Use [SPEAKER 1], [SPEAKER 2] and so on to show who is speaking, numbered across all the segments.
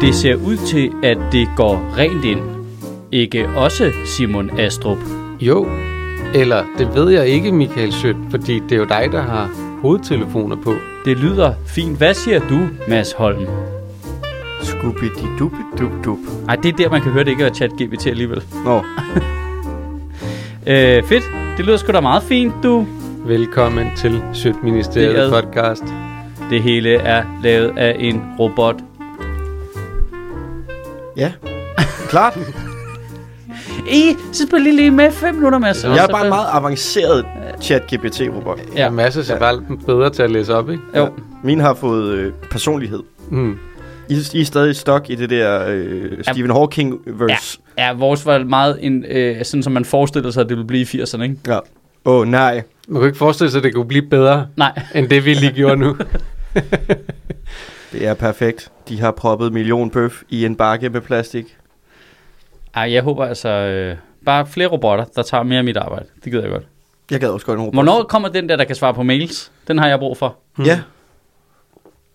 [SPEAKER 1] Det ser ud til, at det går rent ind. Ikke også Simon Astrup.
[SPEAKER 2] Jo, eller det ved jeg ikke, Michael Schødt, fordi det er jo dig, der har hovedtelefoner på.
[SPEAKER 1] Det lyder fint. Hvad siger du, Mads Holm?
[SPEAKER 3] scooby di dub dub dub
[SPEAKER 1] Nej, det er der, man kan høre, det ikke er chat GPT alligevel.
[SPEAKER 3] Nå,
[SPEAKER 1] Øh, fedt. Det lyder sgu da meget fint, du.
[SPEAKER 2] Velkommen til
[SPEAKER 1] Det
[SPEAKER 2] Sødtministeriet
[SPEAKER 1] er-
[SPEAKER 2] podcast.
[SPEAKER 1] Det hele er lavet af en robot.
[SPEAKER 3] ja. Klart.
[SPEAKER 1] I, så spil lige, lige med fem minutter, Mads. Altså,
[SPEAKER 3] Jeg er bare en meget avanceret chat-GPT-robot.
[SPEAKER 1] Ja.
[SPEAKER 2] Ja. Og masser så bare lidt bedre til at læse op, ikke?
[SPEAKER 1] Jo,
[SPEAKER 3] Min har fået øh, personlighed.
[SPEAKER 2] Mm.
[SPEAKER 3] I, I er stadig stok i det der øh, Stephen Hawking-verse.
[SPEAKER 1] ja, vores var meget en, øh, sådan, som man forestillede sig, at det ville blive i 80'erne, ikke?
[SPEAKER 3] Ja. Åh, oh, nej.
[SPEAKER 2] Man kunne ikke forestille sig, at det kunne blive bedre,
[SPEAKER 1] Nej.
[SPEAKER 2] end det vi lige gjorde nu.
[SPEAKER 3] Det er perfekt. De har proppet million bøf i en bakke med plastik.
[SPEAKER 1] Ej, jeg håber altså... Øh, bare flere robotter, der tager mere af mit arbejde. Det gider jeg godt.
[SPEAKER 3] Jeg gad også godt en robot.
[SPEAKER 1] Hvornår kommer den der, der kan svare på mails? Den har jeg brug for.
[SPEAKER 3] Hmm. Ja.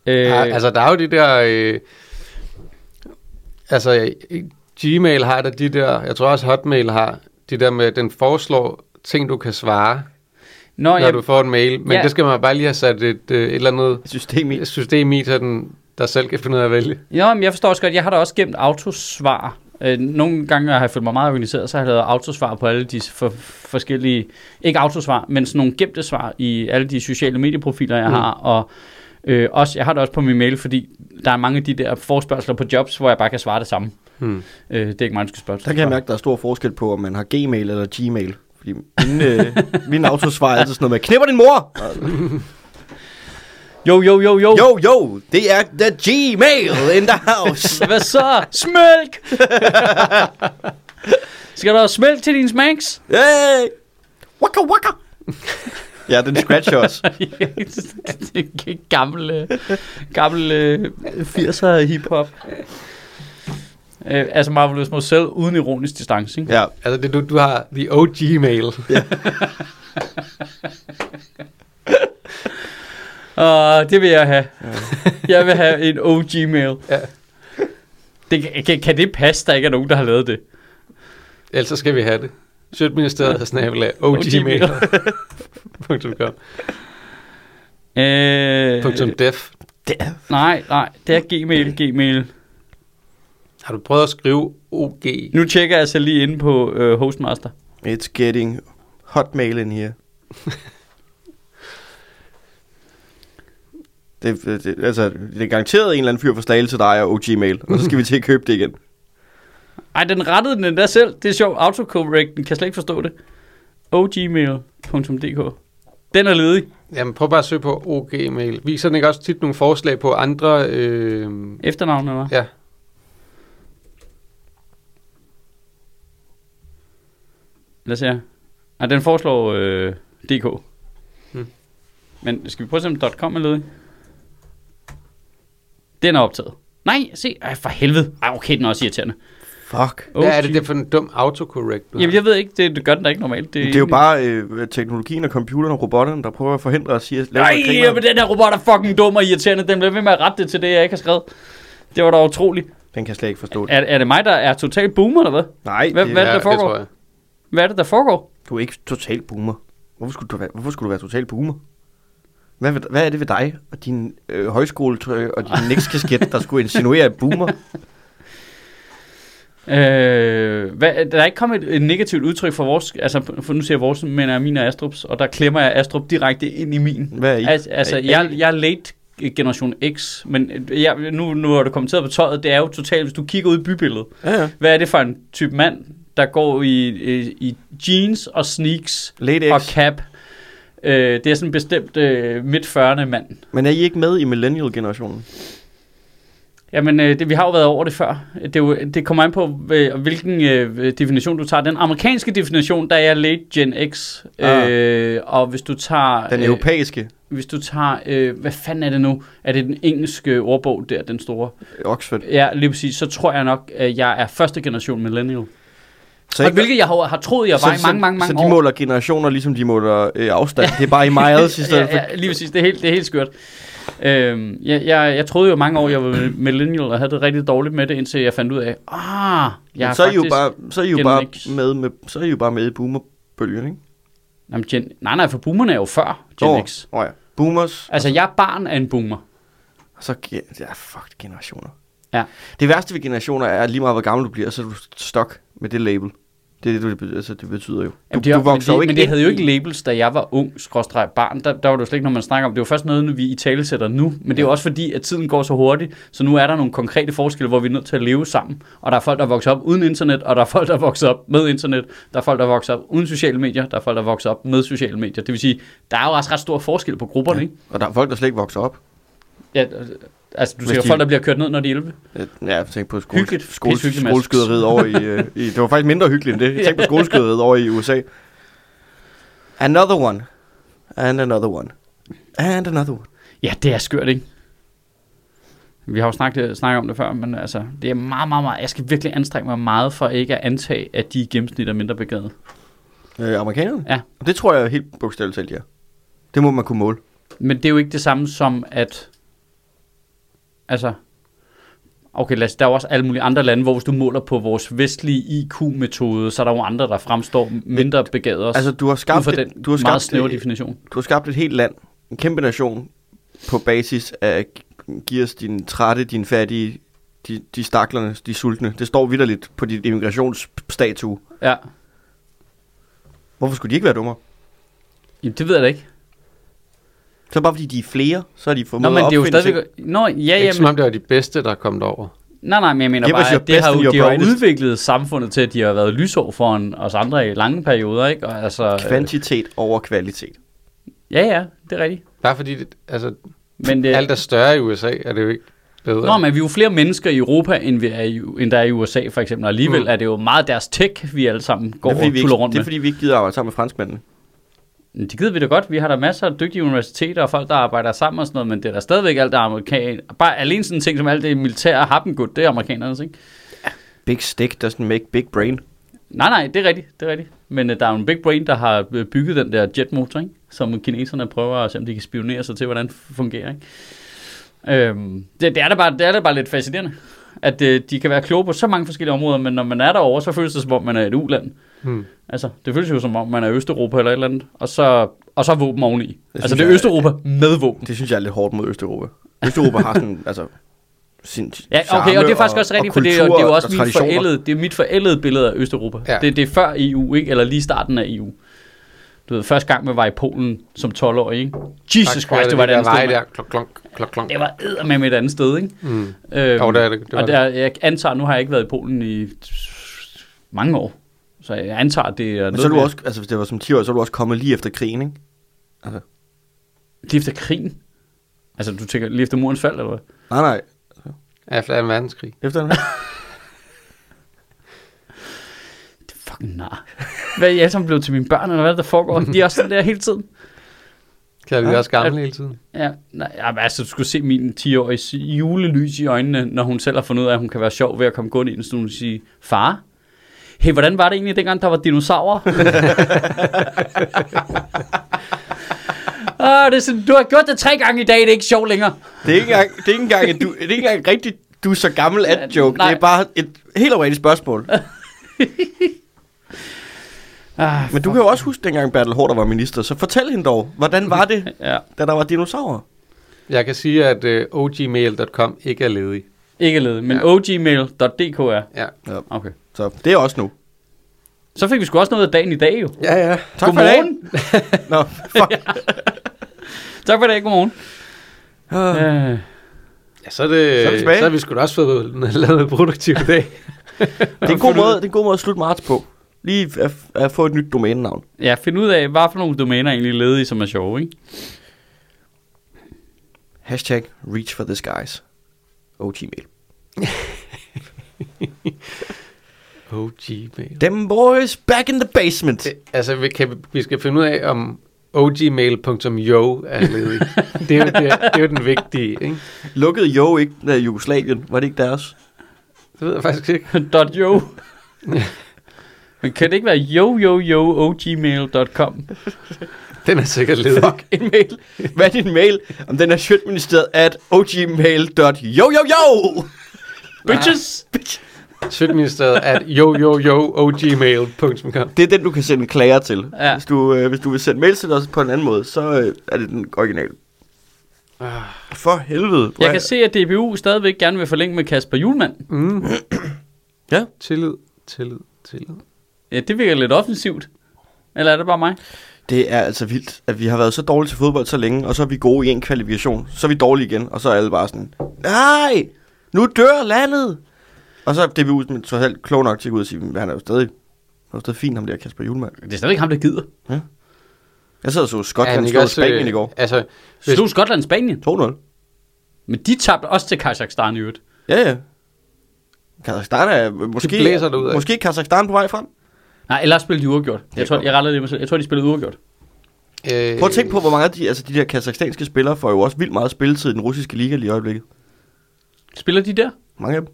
[SPEAKER 1] Øh,
[SPEAKER 2] Øh. Altså, der er jo de der... Øh, altså, øh, Gmail har der de der... Jeg tror også Hotmail har de der med, den foreslår ting, du kan svare,
[SPEAKER 1] når
[SPEAKER 2] når
[SPEAKER 1] jeg,
[SPEAKER 2] du får en mail. Men
[SPEAKER 1] Ja.
[SPEAKER 2] ja. det skal man bare lige have sat et, øh, et eller andet
[SPEAKER 3] System i.
[SPEAKER 2] system i, så den, der selv kan finde ud af at vælge.
[SPEAKER 1] Jo, men jeg forstår også godt, jeg har da også gemt autosvar. Øh, nogle gange har jeg følt mig meget organiseret, så har jeg lavet autosvar på alle de for, forskellige, ikke autosvar, men sådan nogle gemte svar i alle de sociale medieprofiler, jeg mm. har, og øh, også, jeg har det også på min mail, fordi der er mange af de der forspørgseler på jobs, hvor jeg bare kan svare det samme.
[SPEAKER 2] Hmm.
[SPEAKER 1] Øh, det er ikke mig, der skal spørge.
[SPEAKER 3] Der kan jeg mærke, at der er stor forskel på, om man har Gmail eller Gmail. Fordi min, øh, min autosvar er altid sådan noget med, knipper din mor!
[SPEAKER 1] Jo, jo, jo, jo.
[SPEAKER 3] Jo, jo, det er the Gmail in the house!
[SPEAKER 1] Hvad så? Smælk! skal der smælk til din smacks?
[SPEAKER 3] Hey! Waka waka! ja, den scratcher også.
[SPEAKER 1] det er gammel, øh, gammel øh, 80'er hiphop. Øh, altså Marvelous Moselle uden ironisk distance, ikke?
[SPEAKER 3] Ja,
[SPEAKER 2] Altså, det, du, du har the OG mail.
[SPEAKER 1] Og det vil jeg have. jeg vil have en OG-mail.
[SPEAKER 2] Ja.
[SPEAKER 1] Det, kan, kan det passe, der ikke er nogen, der har lavet det?
[SPEAKER 2] Ellers så skal vi have det. Sødministeriet har snabelag ogmail.com.
[SPEAKER 1] Øh,
[SPEAKER 2] Punktum def.
[SPEAKER 3] det er...
[SPEAKER 1] nej, nej, det Øh, er Gmail, Gmail.
[SPEAKER 2] Har du prøvet at skrive OG?
[SPEAKER 1] Nu tjekker jeg så lige inde på øh, Hostmaster.
[SPEAKER 3] It's getting hotmail in here. Det, det, altså, det er garanteret en eller anden fyr fra Slagelse, der ejer OG-mail, og så skal vi til at købe det igen.
[SPEAKER 1] Ej, den rettede den endda selv. Det er sjovt. Autocorrecten kan slet ikke forstå det. ogmail.dk Den er ledig.
[SPEAKER 2] Jamen, prøv bare at søge på OG-mail. Viser den ikke også tit nogle forslag på andre... Øh...
[SPEAKER 1] Efternavn, eller?
[SPEAKER 2] Ja,
[SPEAKER 1] Lad os se her. Ej, den foreslår øh, DK. Hmm.
[SPEAKER 2] Hmm.
[SPEAKER 1] Men skal vi prøve at se, om .com er ledig? Den er optaget. Nej, se. Ej, for helvede. Ej, okay, den er også irriterende.
[SPEAKER 3] Fuck.
[SPEAKER 1] OG.
[SPEAKER 2] hvad er det, det er for en dum autocorrect? Du
[SPEAKER 1] Jamen,
[SPEAKER 2] har?
[SPEAKER 1] jeg ved ikke. Det, det gør den da ikke normalt.
[SPEAKER 3] Det er jo bare øh, teknologien og computeren og robotterne, der prøver at forhindre os i at lave noget
[SPEAKER 1] Nej,
[SPEAKER 3] grineren.
[SPEAKER 1] men den her robot er fucking dum og irriterende. Den bliver ved med at rette det til det, jeg ikke har skrevet. Det var da utroligt.
[SPEAKER 3] Den kan slet ikke forstå det.
[SPEAKER 1] Er, er det mig, der er total boomer, eller hvad?
[SPEAKER 3] Nej,
[SPEAKER 1] Hvad-
[SPEAKER 3] det,
[SPEAKER 1] hvad- er det, der
[SPEAKER 2] ja, det
[SPEAKER 1] foregår?
[SPEAKER 2] tror jeg.
[SPEAKER 1] Hvad er det, der foregår?
[SPEAKER 3] du er ikke total boomer. Hvorfor skulle du være, hvorfor skulle du være total boomer? Hvad, ved- hvad er det ved dig og din øh, højskoletrøje og din nexkasket, der skulle insinuere et boomer?
[SPEAKER 1] Øh, hvad, der er ikke kommet et, et negativt udtryk for vores, altså for nu siger jeg vores, men er min og Astrups, og der klemmer jeg Astrup direkte ind i min.
[SPEAKER 3] Hvad er I?
[SPEAKER 1] Altså, altså
[SPEAKER 3] Er I-
[SPEAKER 1] jeg, jeg er late generation X, men jeg, nu, nu har du kommenteret på tøjet, det er jo totalt, hvis du kigger ud i bybilledet,
[SPEAKER 3] Ja, ja.
[SPEAKER 1] hvad er det for en type mand, der går i, i, i jeans og sneaks
[SPEAKER 3] Late
[SPEAKER 1] og
[SPEAKER 3] X.
[SPEAKER 1] cap, Øh, det er sådan en bestemt øh, midt-40'erne mand.
[SPEAKER 3] Men er I ikke med i millennial-generationen?
[SPEAKER 1] Jamen, øh, det, vi har jo været over det før. Det, er jo, det kommer an på, øh, hvilken øh, definition du tager. Den amerikanske definition, der er jeg late Gen X.
[SPEAKER 3] Ah.
[SPEAKER 1] Øh, og hvis du tager...
[SPEAKER 3] Den
[SPEAKER 1] øh,
[SPEAKER 3] europæiske
[SPEAKER 1] hvis du tager... Øh, hvad fanden er det nu? Er det den engelske ordbog der, den store?
[SPEAKER 3] Oxford.
[SPEAKER 1] Ja, lige præcis. Så tror jeg nok, at jeg er første generation millennial.
[SPEAKER 3] Så,
[SPEAKER 1] og hvilket jeg har, har troet, jeg var i
[SPEAKER 3] så,
[SPEAKER 1] mange, mange, mange
[SPEAKER 3] så
[SPEAKER 1] år.
[SPEAKER 3] de måler generationer, ligesom de måler øh, afstand. Det er bare i miles i stedet
[SPEAKER 1] ja, ja, lige præcis. Det er helt, det er helt skørt. Øhm, jeg, jeg, jeg troede jo mange år, jeg var millennial og havde det rigtig dårligt med det, indtil jeg fandt ud af, ah, jeg
[SPEAKER 3] Ja,
[SPEAKER 1] er
[SPEAKER 3] så er I jo
[SPEAKER 1] faktisk...
[SPEAKER 3] bare, så er I jo
[SPEAKER 1] Gen
[SPEAKER 3] bare
[SPEAKER 1] X.
[SPEAKER 3] med, med, så er I jo bare med i boomerbølgen, ikke?
[SPEAKER 1] Jamen, gen... Nej, nej, for boomerne er jo før Gen
[SPEAKER 3] Nå,
[SPEAKER 1] X.
[SPEAKER 3] Nå ja. Boomers.
[SPEAKER 1] Altså, jeg er barn af en boomer.
[SPEAKER 3] Og så gen- ja, fuck generationer.
[SPEAKER 1] Ja.
[SPEAKER 3] Det værste ved generationer er, at lige meget hvor gammel du bliver, så er du stok med det label. Det er det, du, det betyder- altså, det betyder jo. Du,
[SPEAKER 1] Jamen, det,
[SPEAKER 3] du vokser
[SPEAKER 1] men det,
[SPEAKER 3] jo ikke
[SPEAKER 1] Men det
[SPEAKER 3] ind
[SPEAKER 1] havde jo
[SPEAKER 3] i-
[SPEAKER 1] ikke labels, da jeg var ung, skråstreg barn. Der, der var det jo slet ikke, når man snakker om det. Det var først noget, vi i tale sætter nu. Men det er jo også fordi, at tiden går så hurtigt. Så nu er der nogle konkrete forskelle, hvor vi er nødt til at leve sammen. Og der er folk, der vokser op uden internet, og der er folk, der vokser op med internet. Der er folk, der vokser op uden sociale medier. Der er folk, der vokser op med sociale medier. Det vil sige, der er jo også ret stor forskel på grupperne, ja. ikke?
[SPEAKER 3] Og der er folk, der slet ikke vokser op.
[SPEAKER 1] Ja, altså, du
[SPEAKER 3] Hvis
[SPEAKER 1] ser
[SPEAKER 3] de-
[SPEAKER 1] folk, der bliver kørt ned, når de er 11.
[SPEAKER 3] Øh, Ja, jeg tænkte på skole,
[SPEAKER 1] Hyggeligt.
[SPEAKER 3] skole,
[SPEAKER 1] Pissehyggeligt, Mads.
[SPEAKER 3] skoleskyderiet over i, øh, i... Det var faktisk mindre hyggeligt end det. Jeg tænkte på skoleskyderiet over i USA. Another one. And another one. And another one.
[SPEAKER 1] Ja, det er skørt, ikke? Vi har jo snakket, snakket om det før, men altså, det er meget, meget, meget. Jeg skal virkelig anstrenge mig meget for ikke at antage, at de i gennemsnit er mindre begavet.
[SPEAKER 3] Øh, amerikanerne?
[SPEAKER 1] Ja.
[SPEAKER 3] Og Det tror jeg helt bogstaveligt talt, ja. Det må man kunne måle.
[SPEAKER 1] Men det er jo ikke det samme som, at... Altså... Okay, lad os, der er jo også alle mulige andre lande, hvor hvis du måler på vores vestlige IQ-metode, så er der jo andre, der fremstår mindre begavet også.
[SPEAKER 3] Altså, du har
[SPEAKER 1] ud
[SPEAKER 3] skabt,
[SPEAKER 1] fra
[SPEAKER 3] et,
[SPEAKER 1] den
[SPEAKER 3] du har
[SPEAKER 1] meget
[SPEAKER 3] skabt,
[SPEAKER 1] snævre
[SPEAKER 3] et,
[SPEAKER 1] definition.
[SPEAKER 3] du har skabt et helt land. En kæmpe nation på basis af giv os din trætte, din fattige, de, de staklerne, de sultne. Det står vidderligt på dit immigrationsstatue.
[SPEAKER 1] Ja.
[SPEAKER 3] Hvorfor skulle de ikke være dummere?
[SPEAKER 1] Jamen, det ved jeg da ikke.
[SPEAKER 3] Så bare fordi de er flere, så er de formået
[SPEAKER 1] Nå, men
[SPEAKER 3] at
[SPEAKER 1] det er jo
[SPEAKER 3] opfinde ting.
[SPEAKER 1] stadigvæk... Nå, ja, ja,
[SPEAKER 2] Ikke
[SPEAKER 1] men...
[SPEAKER 2] som om det var de bedste, der er kommet over.
[SPEAKER 1] Nej, nej, men jeg mener
[SPEAKER 3] Give us
[SPEAKER 1] bare,
[SPEAKER 3] your
[SPEAKER 1] at det har,
[SPEAKER 3] best and
[SPEAKER 1] jo-
[SPEAKER 3] your
[SPEAKER 1] de har jo
[SPEAKER 3] brightest.
[SPEAKER 1] udviklet samfundet til, at de har været lysår foran os andre i lange perioder, ikke? Og altså, øh,
[SPEAKER 3] Kvantitet over kvalitet.
[SPEAKER 1] ja, ja, det er rigtigt.
[SPEAKER 2] Bare fordi det, altså,
[SPEAKER 1] Men det,
[SPEAKER 2] alt er større i USA, er det jo ikke bedre.
[SPEAKER 1] Nå, men vi er jo flere mennesker i Europa, end, vi er i, end der er i USA, for eksempel. Og alligevel
[SPEAKER 2] Mm.
[SPEAKER 1] er det jo meget deres tech, vi alle sammen går
[SPEAKER 3] det, er,
[SPEAKER 1] og
[SPEAKER 3] fordi vi
[SPEAKER 1] tuller
[SPEAKER 3] ikke,
[SPEAKER 1] rundt
[SPEAKER 3] det er
[SPEAKER 1] med.
[SPEAKER 3] fordi, vi ikke gider arbejde sammen med franskmændene.
[SPEAKER 1] Men Det gider vi da godt. Vi har der masser af dygtige universiteter og folk, der arbejder sammen og sådan noget, men det er da stadigvæk alt det amerikan. Bare alene sådan en ting som alt det militære happengud, det er amerikanernes, ikke?
[SPEAKER 3] Big stick doesn't make big brain.
[SPEAKER 1] Nej, nej, det er rigtigt, det er rigtigt. Men uh, der er jo en big brain, der har øh, bygget den der jetmotor, ikke? som kineserne prøver at se, om de kan spionere sig til, hvordan det fungerer. Ikke? Øhm, det, det, er da bare, det er da bare lidt fascinerende, at uh, de kan være kloge på så mange forskellige områder, men når man er derovre, så føles det som om, man er et uland.
[SPEAKER 2] Hmm.
[SPEAKER 1] Altså, det føles jo som om, man er Østeuropa eller et eller andet, og så, og så er våben oveni. altså,
[SPEAKER 3] synes
[SPEAKER 1] det er
[SPEAKER 3] jeg-
[SPEAKER 1] Østeuropa med våben.
[SPEAKER 3] Det synes jeg er lidt hårdt mod Østeuropa. Østeuropa har sådan, altså, sin
[SPEAKER 1] Ja, okay, og det er faktisk også rigtigt, for det er, jo- det er jo også mit forældede, det er mit forældede billede af Østeuropa. Ja.
[SPEAKER 2] Ja.
[SPEAKER 1] Det, det er før EU, ikke? Eller lige starten af EU. Du ved, første gang, man var i Polen som 12-årig, ikke? Jesus Christ, det var et andet sted.
[SPEAKER 2] Nej, der
[SPEAKER 1] mand.
[SPEAKER 2] klok, klok, klok, klok.
[SPEAKER 1] Det var eddermame et andet sted, ikke? Øhm,
[SPEAKER 2] Mm. Jo, det er det- det var
[SPEAKER 1] og der, jeg antager, nu har jeg ikke været i Polen i mange år. Så jeg antager, det er
[SPEAKER 3] Men så er du
[SPEAKER 1] mere-
[SPEAKER 3] også, altså hvis det var som 10 år, så er du også kommet lige efter krigen, ikke?
[SPEAKER 1] Lige efter krigen. Altså, du tænker lige efter murens fald, eller hvad?
[SPEAKER 3] Nej, nej.
[SPEAKER 2] Efter 2. verdenskrig.
[SPEAKER 3] Efter den her.
[SPEAKER 1] Det er fucking nar. Hvad er I alle sammen blevet til mine børn, eller hvad er det, der foregår? De er også sådan der hele tiden.
[SPEAKER 2] Kan vi
[SPEAKER 3] Ja.
[SPEAKER 2] også gamle hele tiden?
[SPEAKER 1] Ja, nej, jamen, altså du skulle se min 10-årige julelys i øjnene, når hun selv har fundet ud af, at hun kan være sjov ved at komme gående ind i stuen og sige, far, hey, hvordan var det egentlig dengang, der var dinosaurer? Ah, det er sådan, du har gjort det tre gange i dag, det er ikke sjovt længere.
[SPEAKER 3] Det er ikke engang, det er ikke engang, at du, det er ikke engang rigtigt, du er så gammel at joke.
[SPEAKER 1] Nej.
[SPEAKER 3] Det er bare et helt overrated spørgsmål.
[SPEAKER 1] Ah,
[SPEAKER 3] Men du kan jo også huske dengang Bertel Hårder var minister, så fortæl hende dog, hvordan var det,
[SPEAKER 1] ja,
[SPEAKER 3] da der var dinosaurer?
[SPEAKER 2] Jeg kan sige, at uh, ogmail.com ikke er ledig.
[SPEAKER 1] ikke ledet, men
[SPEAKER 2] Ja.
[SPEAKER 1] ogmail.dk er.
[SPEAKER 2] Ja.
[SPEAKER 1] Okay.
[SPEAKER 3] Så det er også nu.
[SPEAKER 1] Så fik vi sgu også noget af dagen i dag jo.
[SPEAKER 2] Ja, ja.
[SPEAKER 3] Tak for i dag.
[SPEAKER 1] godmorgen.
[SPEAKER 3] Nå, fuck.
[SPEAKER 1] tak for i dag, godmorgen.
[SPEAKER 3] Ah.
[SPEAKER 1] Øh,
[SPEAKER 2] ja så, er det,
[SPEAKER 3] Så er vi tilbage.
[SPEAKER 2] så har vi sgu da også fået lavet en produktiv dag.
[SPEAKER 3] Det er en god måde, det er en god måde at slutte marts på. Lige at, at få et nyt domænenavn.
[SPEAKER 1] Ja, find ud af, hvad for nogle domæner er egentlig ledige, som er sjove, ikke?
[SPEAKER 3] Hashtag reach for the skies. Og Gmail.
[SPEAKER 2] Oh, Gmail.
[SPEAKER 3] Them boys back in the basement.
[SPEAKER 2] Det, altså, vi, kan, vi skal finde ud af, om ogmail.yo er ledig. det, er jo, det, er, det er jo den vigtige, ikke?
[SPEAKER 3] Lukkede jo ikke øh, Jugoslavien? Var det ikke deres?
[SPEAKER 2] Det ved jeg faktisk ikke.
[SPEAKER 1] Dot .jo. Men kan det ikke være yo yo yo ogmail.com?
[SPEAKER 2] Den er sikkert ledig.
[SPEAKER 3] Fuck, en mail. Hvad er din mail? Om den er sjøtministeriet at ogmail.jojojo.
[SPEAKER 1] Bitches!
[SPEAKER 2] Sjøtministeriet at jo, jo, jo, ogmail.com.
[SPEAKER 3] Det er den, du kan sende klager til.
[SPEAKER 1] Ja.
[SPEAKER 3] Hvis, du, øh, hvis du vil sende mail til os på en anden måde, så øh, er det den originale. For helvede.
[SPEAKER 1] Jeg kan se, at DBU stadigvæk gerne vil forlænge med Kasper Julemand.
[SPEAKER 2] Mm.
[SPEAKER 3] Ja.
[SPEAKER 2] Tillid, tillid, tillid.
[SPEAKER 1] Ja, det virker lidt offensivt. Eller er det bare mig?
[SPEAKER 3] Det er altså vildt, at vi har været så dårlige til fodbold så længe, og så er vi gode i en kvalifikation. Så er vi dårlige igen, og så er alle bare sådan, nej, nu dør landet. Og så er DBU sådan trods alt klog nok til at gå ud og sige, "Men han er jo stadig, han er jo stadig fin, ham der Kasper Julemand.
[SPEAKER 1] Det er stadigvæk ham, der gider.
[SPEAKER 3] Jeg sad og så
[SPEAKER 2] Er
[SPEAKER 3] Skotland
[SPEAKER 2] han
[SPEAKER 3] ja,
[SPEAKER 2] ikke
[SPEAKER 3] slå
[SPEAKER 2] også, øh,
[SPEAKER 3] Spanien i går.
[SPEAKER 2] Altså, Hvis-
[SPEAKER 1] Slog Skotland Spanien.
[SPEAKER 3] 2-0.
[SPEAKER 1] Men de tabte også til Kazakhstan i øvrigt.
[SPEAKER 3] Ja, ja. Kazakhstan er måske,
[SPEAKER 2] blæser derudad.
[SPEAKER 3] måske er Kazakhstan på vej frem.
[SPEAKER 1] Nej, ellers spillede de uafgjort. Jeg
[SPEAKER 3] Det
[SPEAKER 1] tror,
[SPEAKER 3] går.
[SPEAKER 1] jeg rettede det mig selv. Jeg tror, de spillede uafgjort.
[SPEAKER 2] øh,
[SPEAKER 3] Prøv at tænke på, hvor mange af de, altså de der kazakhstanske spillere får jo også vildt meget spilletid i den russiske liga lige i øjeblikket.
[SPEAKER 1] Spiller de der?
[SPEAKER 3] Mange af dem.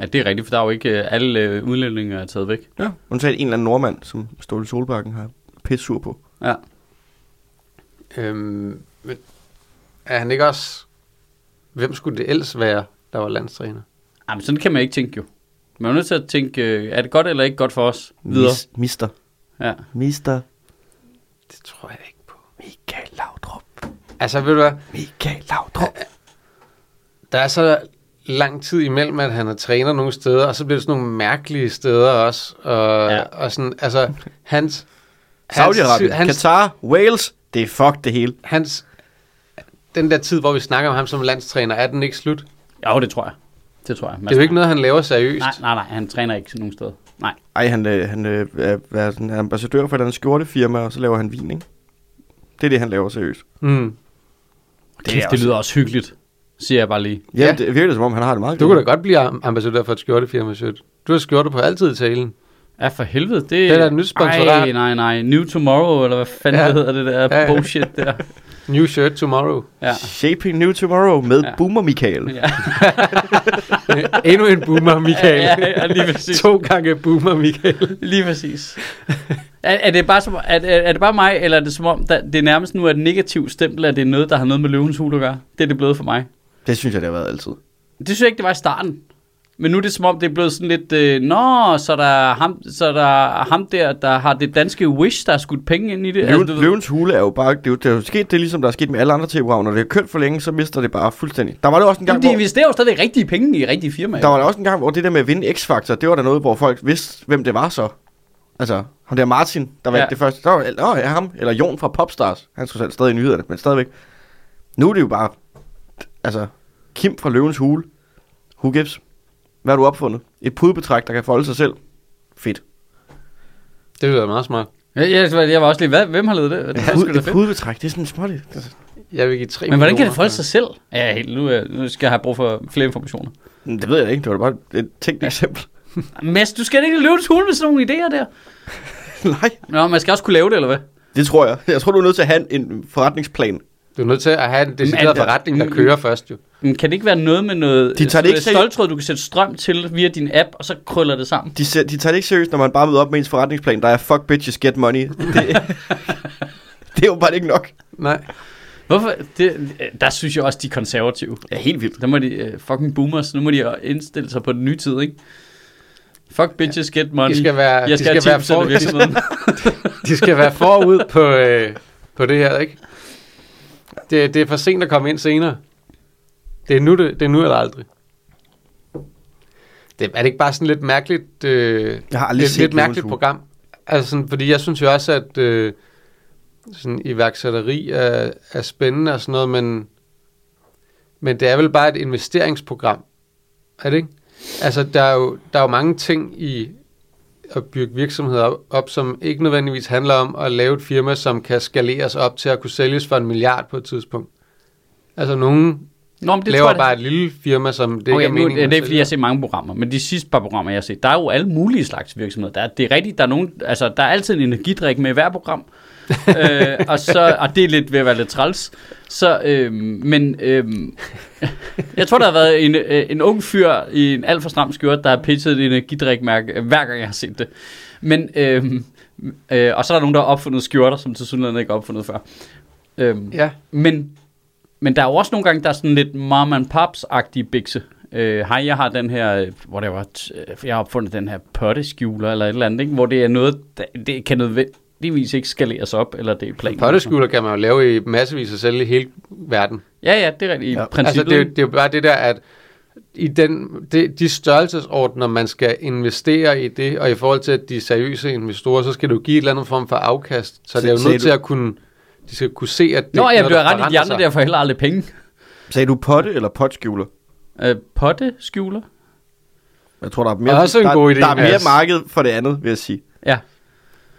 [SPEAKER 1] Ja, det er rigtigt, for der er jo ikke øh, alle øh, udlændinge er taget væk.
[SPEAKER 3] Ja. Undtagen en eller anden nordmand, som Ståle Solbakken har pisse sur på.
[SPEAKER 1] Ja.
[SPEAKER 2] Øhm, men er han ikke også... Hvem skulle det ellers være, der var landstræner?
[SPEAKER 1] Jamen, sådan kan man ikke tænke jo. Man er nødt til at tænke, øh, er det godt eller ikke godt for os? Videre.
[SPEAKER 3] Mis, mister.
[SPEAKER 1] Ja.
[SPEAKER 3] Mister.
[SPEAKER 2] Det tror jeg ikke på.
[SPEAKER 3] Michael Laudrup.
[SPEAKER 2] Altså, ved du hvad?
[SPEAKER 3] Michael Laudrup.
[SPEAKER 2] Der er så lang tid imellem, at han er træner nogle steder, og så bliver det sådan nogle mærkelige steder også. Og,
[SPEAKER 1] Ja.
[SPEAKER 2] ja. og sådan, altså, hans...
[SPEAKER 3] Saudi-Arabien.
[SPEAKER 2] hans, hans,
[SPEAKER 3] Katar. Wales. Det er fuck det hele.
[SPEAKER 2] hans, den der tid, hvor vi snakker om ham som landstræner, er den ikke slut? Det
[SPEAKER 1] Jo, det tror jeg. Det tror jeg.
[SPEAKER 2] er jo ikke noget, han laver seriøst.
[SPEAKER 1] Nej, nej, nej. Han træner ikke nogen steder. Nej.
[SPEAKER 3] Ej, han, øh, han øh, er, er, sådan, er ambassadør for et eller andet skjortefirma, og så laver han vin, ikke? Det er det, han laver seriøst.
[SPEAKER 2] Mm.
[SPEAKER 1] Det, Kæft, det lyder også hyggeligt, siger jeg bare lige.
[SPEAKER 3] Ja,
[SPEAKER 2] Ja.
[SPEAKER 3] ja. det virker som om, han har det meget
[SPEAKER 2] Du kunne da godt blive am- ambassadør for et skjortefirma, Sødt. Du har skjorte på altid i talen.
[SPEAKER 1] Ja, for helvede. Det, det
[SPEAKER 2] er da et nyt sponsorat.
[SPEAKER 1] Nej, nej, nej. New Tomorrow, eller hvad fanden ja.
[SPEAKER 2] Ja.
[SPEAKER 1] det hedder det der
[SPEAKER 2] Ja, ja.
[SPEAKER 1] bullshit der.
[SPEAKER 2] New shirt tomorrow.
[SPEAKER 1] Ja.
[SPEAKER 3] Shaping New Tomorrow med
[SPEAKER 1] Ja.
[SPEAKER 3] ja. Boomer Michael.
[SPEAKER 1] Ja,
[SPEAKER 2] Endnu en boomer, Michael.
[SPEAKER 1] ja, ja, lige præcis.
[SPEAKER 2] to gange boomer, Michael.
[SPEAKER 1] Lige præcis. Er, er, det bare som, er, er, er det bare mig, eller er det som om, der, det er nærmest nu er et negativt stempel, at det er noget, der har noget med løvens hul at gøre? Det er det blevet for mig.
[SPEAKER 3] Det synes jeg, det har været altid.
[SPEAKER 1] Det synes jeg ikke, det var i starten. Men nu er det som om, det er blevet sådan lidt, øh, nå, så der er ham, så der er ham der, der har det danske Wish, der har skudt penge ind i det. Altså,
[SPEAKER 3] Løven,
[SPEAKER 1] du ved-
[SPEAKER 3] løvens hule er jo bare, det er jo, det er jo sket, det er ligesom der er sket med alle andre tv-programmer. Når det er kørt for længe, så mister det bare fuldstændig. Der var det også en gang,
[SPEAKER 1] Jamen, de
[SPEAKER 3] hvor,
[SPEAKER 1] investerer jo stadig rigtige penge i rigtige firmaer.
[SPEAKER 3] der var det også en gang, hvor det der med at vinde X-Factor, det var der noget, hvor folk vidste, hvem det var så. Altså, ham der Martin, der vandt
[SPEAKER 1] Ja.
[SPEAKER 3] ja. det første. Der var, åh, ja, ham, eller Jon fra Popstars. Han skulle selv stadig i nyhederne, men stadigvæk. Nu er det jo bare, altså, Kim fra Løvens Hule. Who gives? Hvad har du opfundet? Et pudebetræk, der kan folde sig selv. Fedt.
[SPEAKER 2] Det lyder meget smart.
[SPEAKER 1] Jeg, jeg, jeg var også lige, hvad, hvem har lavet det? det, var sgu
[SPEAKER 3] Pud,
[SPEAKER 1] da
[SPEAKER 3] et
[SPEAKER 1] fedt.
[SPEAKER 3] pudebetræk, det er sådan småt. Det,
[SPEAKER 2] Jeg vil give tre
[SPEAKER 1] Men hvordan kan det
[SPEAKER 2] millioner
[SPEAKER 1] folde
[SPEAKER 2] for-
[SPEAKER 1] sig selv? Ja, helt, nu, øh, nu skal jeg have brug for flere informationer.
[SPEAKER 3] det ved jeg ikke, det var da bare et tænkt eksempel.
[SPEAKER 1] Mads, du skal ikke løbe til hul med sådan nogle idéer der.
[SPEAKER 3] Nej.
[SPEAKER 1] Nå, man skal også kunne lave det, eller hvad?
[SPEAKER 3] Det tror jeg. Jeg tror, du er nødt til at have en, en forretningsplan.
[SPEAKER 2] Du er nødt til at have en decideret
[SPEAKER 1] alt-
[SPEAKER 2] forretning, der
[SPEAKER 1] Mm,
[SPEAKER 2] kører først jo.
[SPEAKER 1] Men kan det ikke være noget med noget
[SPEAKER 3] De tager det
[SPEAKER 1] øh,
[SPEAKER 3] ikke seriøst.
[SPEAKER 1] stoltråd, du kan sætte strøm til via din app, og så krøller det sammen?
[SPEAKER 3] De, ser, de tager det ikke seriøst, når man bare møder op med ens forretningsplan. Der er fuck bitches, get money. Det, det er jo bare ikke nok.
[SPEAKER 2] Nej.
[SPEAKER 1] Hvorfor? Det, øh, der synes jeg også, de er konservative.
[SPEAKER 3] Ja, helt vildt.
[SPEAKER 1] Der må de, øh, fucking boomers, nu må de indstille sig på den nye tid, ikke? Fuck bitches, get money.
[SPEAKER 2] De skal være,
[SPEAKER 1] jeg skal,
[SPEAKER 2] de skal være,
[SPEAKER 1] for...
[SPEAKER 2] for,
[SPEAKER 1] virksomheden.
[SPEAKER 2] de skal være forud på, øh, på det her, ikke? Det, det er for sent at komme ind senere. Det er nu, det, det er nu eller aldrig. Det, er det ikke bare sådan lidt mærkeligt, øh,
[SPEAKER 3] Jeg har aldrig
[SPEAKER 2] lidt,
[SPEAKER 3] set
[SPEAKER 2] lidt
[SPEAKER 3] Løvens
[SPEAKER 2] mærkeligt
[SPEAKER 3] Hule.
[SPEAKER 2] program? Altså sådan, fordi jeg synes jo også, at øh, sådan iværksætteri er, er spændende og sådan noget, men, men det er vel bare et investeringsprogram, er det ikke? Altså, der er jo, der er jo mange ting i at bygge virksomheder op, op, som ikke nødvendigvis handler om at lave et firma, som kan skaleres op til at kunne sælges for en milliard på et tidspunkt. Altså nogen
[SPEAKER 1] Nå, men det
[SPEAKER 2] laver
[SPEAKER 1] tror jeg,
[SPEAKER 2] bare et lille firma, som det
[SPEAKER 1] det, okay,
[SPEAKER 2] ikke er
[SPEAKER 1] men,
[SPEAKER 2] meningen.
[SPEAKER 1] det, det er
[SPEAKER 2] at
[SPEAKER 1] fordi, jeg har set mange programmer, men de sidste par programmer, jeg har set, der er jo alle mulige slags virksomheder. Der er, det er rigtigt, der er, nogen, altså, der er altid en energidrik med i hver program, øh, og, så, og det er lidt ved at være lidt træls. Så, øh, men øh, jeg tror, der har været en, øh, en ung fyr i en alt for stram skjort, der har pitchet et energidrikmærke, øh, hver gang jeg har set det. Men, øh, øh, og så er der nogen, der har opfundet skjorter, som til synligheden ikke er opfundet før. Øh,
[SPEAKER 2] Ja,
[SPEAKER 1] Men, men der er jo også nogle gange, der er sådan lidt mom and pops-agtige bikse. Øh, hej, jeg har den her, øh, whatever, t- øh, jeg har opfundet den her potteskjuler eller et eller andet, ikke? hvor det er noget, der, det kan nødvendigvis ikke skaleres op, eller det er planen.
[SPEAKER 2] potteskjuler kan man jo lave i massevis og sælge i hele verden.
[SPEAKER 1] Ja, ja, det er rigtigt. I ja. princippet.
[SPEAKER 2] Altså, det, er jo-
[SPEAKER 1] ikke?
[SPEAKER 2] det er jo bare det der, at i den, det, de størrelsesordner, man skal investere i det, og i forhold til, at de er seriøse investorer, så skal du give et eller andet form for afkast. Så det er jo
[SPEAKER 3] Sagde
[SPEAKER 2] nødt
[SPEAKER 3] du-
[SPEAKER 2] til at kunne... De skal kunne se, at det
[SPEAKER 1] Nå,
[SPEAKER 2] er
[SPEAKER 1] jeg
[SPEAKER 2] noget,
[SPEAKER 1] bliver
[SPEAKER 2] der
[SPEAKER 1] ret i de
[SPEAKER 2] forandrer
[SPEAKER 1] andre
[SPEAKER 2] sig.
[SPEAKER 1] der får heller aldrig penge.
[SPEAKER 3] Sagde du potte eller potskjuler?
[SPEAKER 1] Øh, potteskjuler?
[SPEAKER 3] Jeg tror, der er mere,
[SPEAKER 2] Også en
[SPEAKER 3] der,
[SPEAKER 2] god idé,
[SPEAKER 3] der er mere
[SPEAKER 2] Mads.
[SPEAKER 3] marked for det andet, vil jeg sige.
[SPEAKER 1] Ja,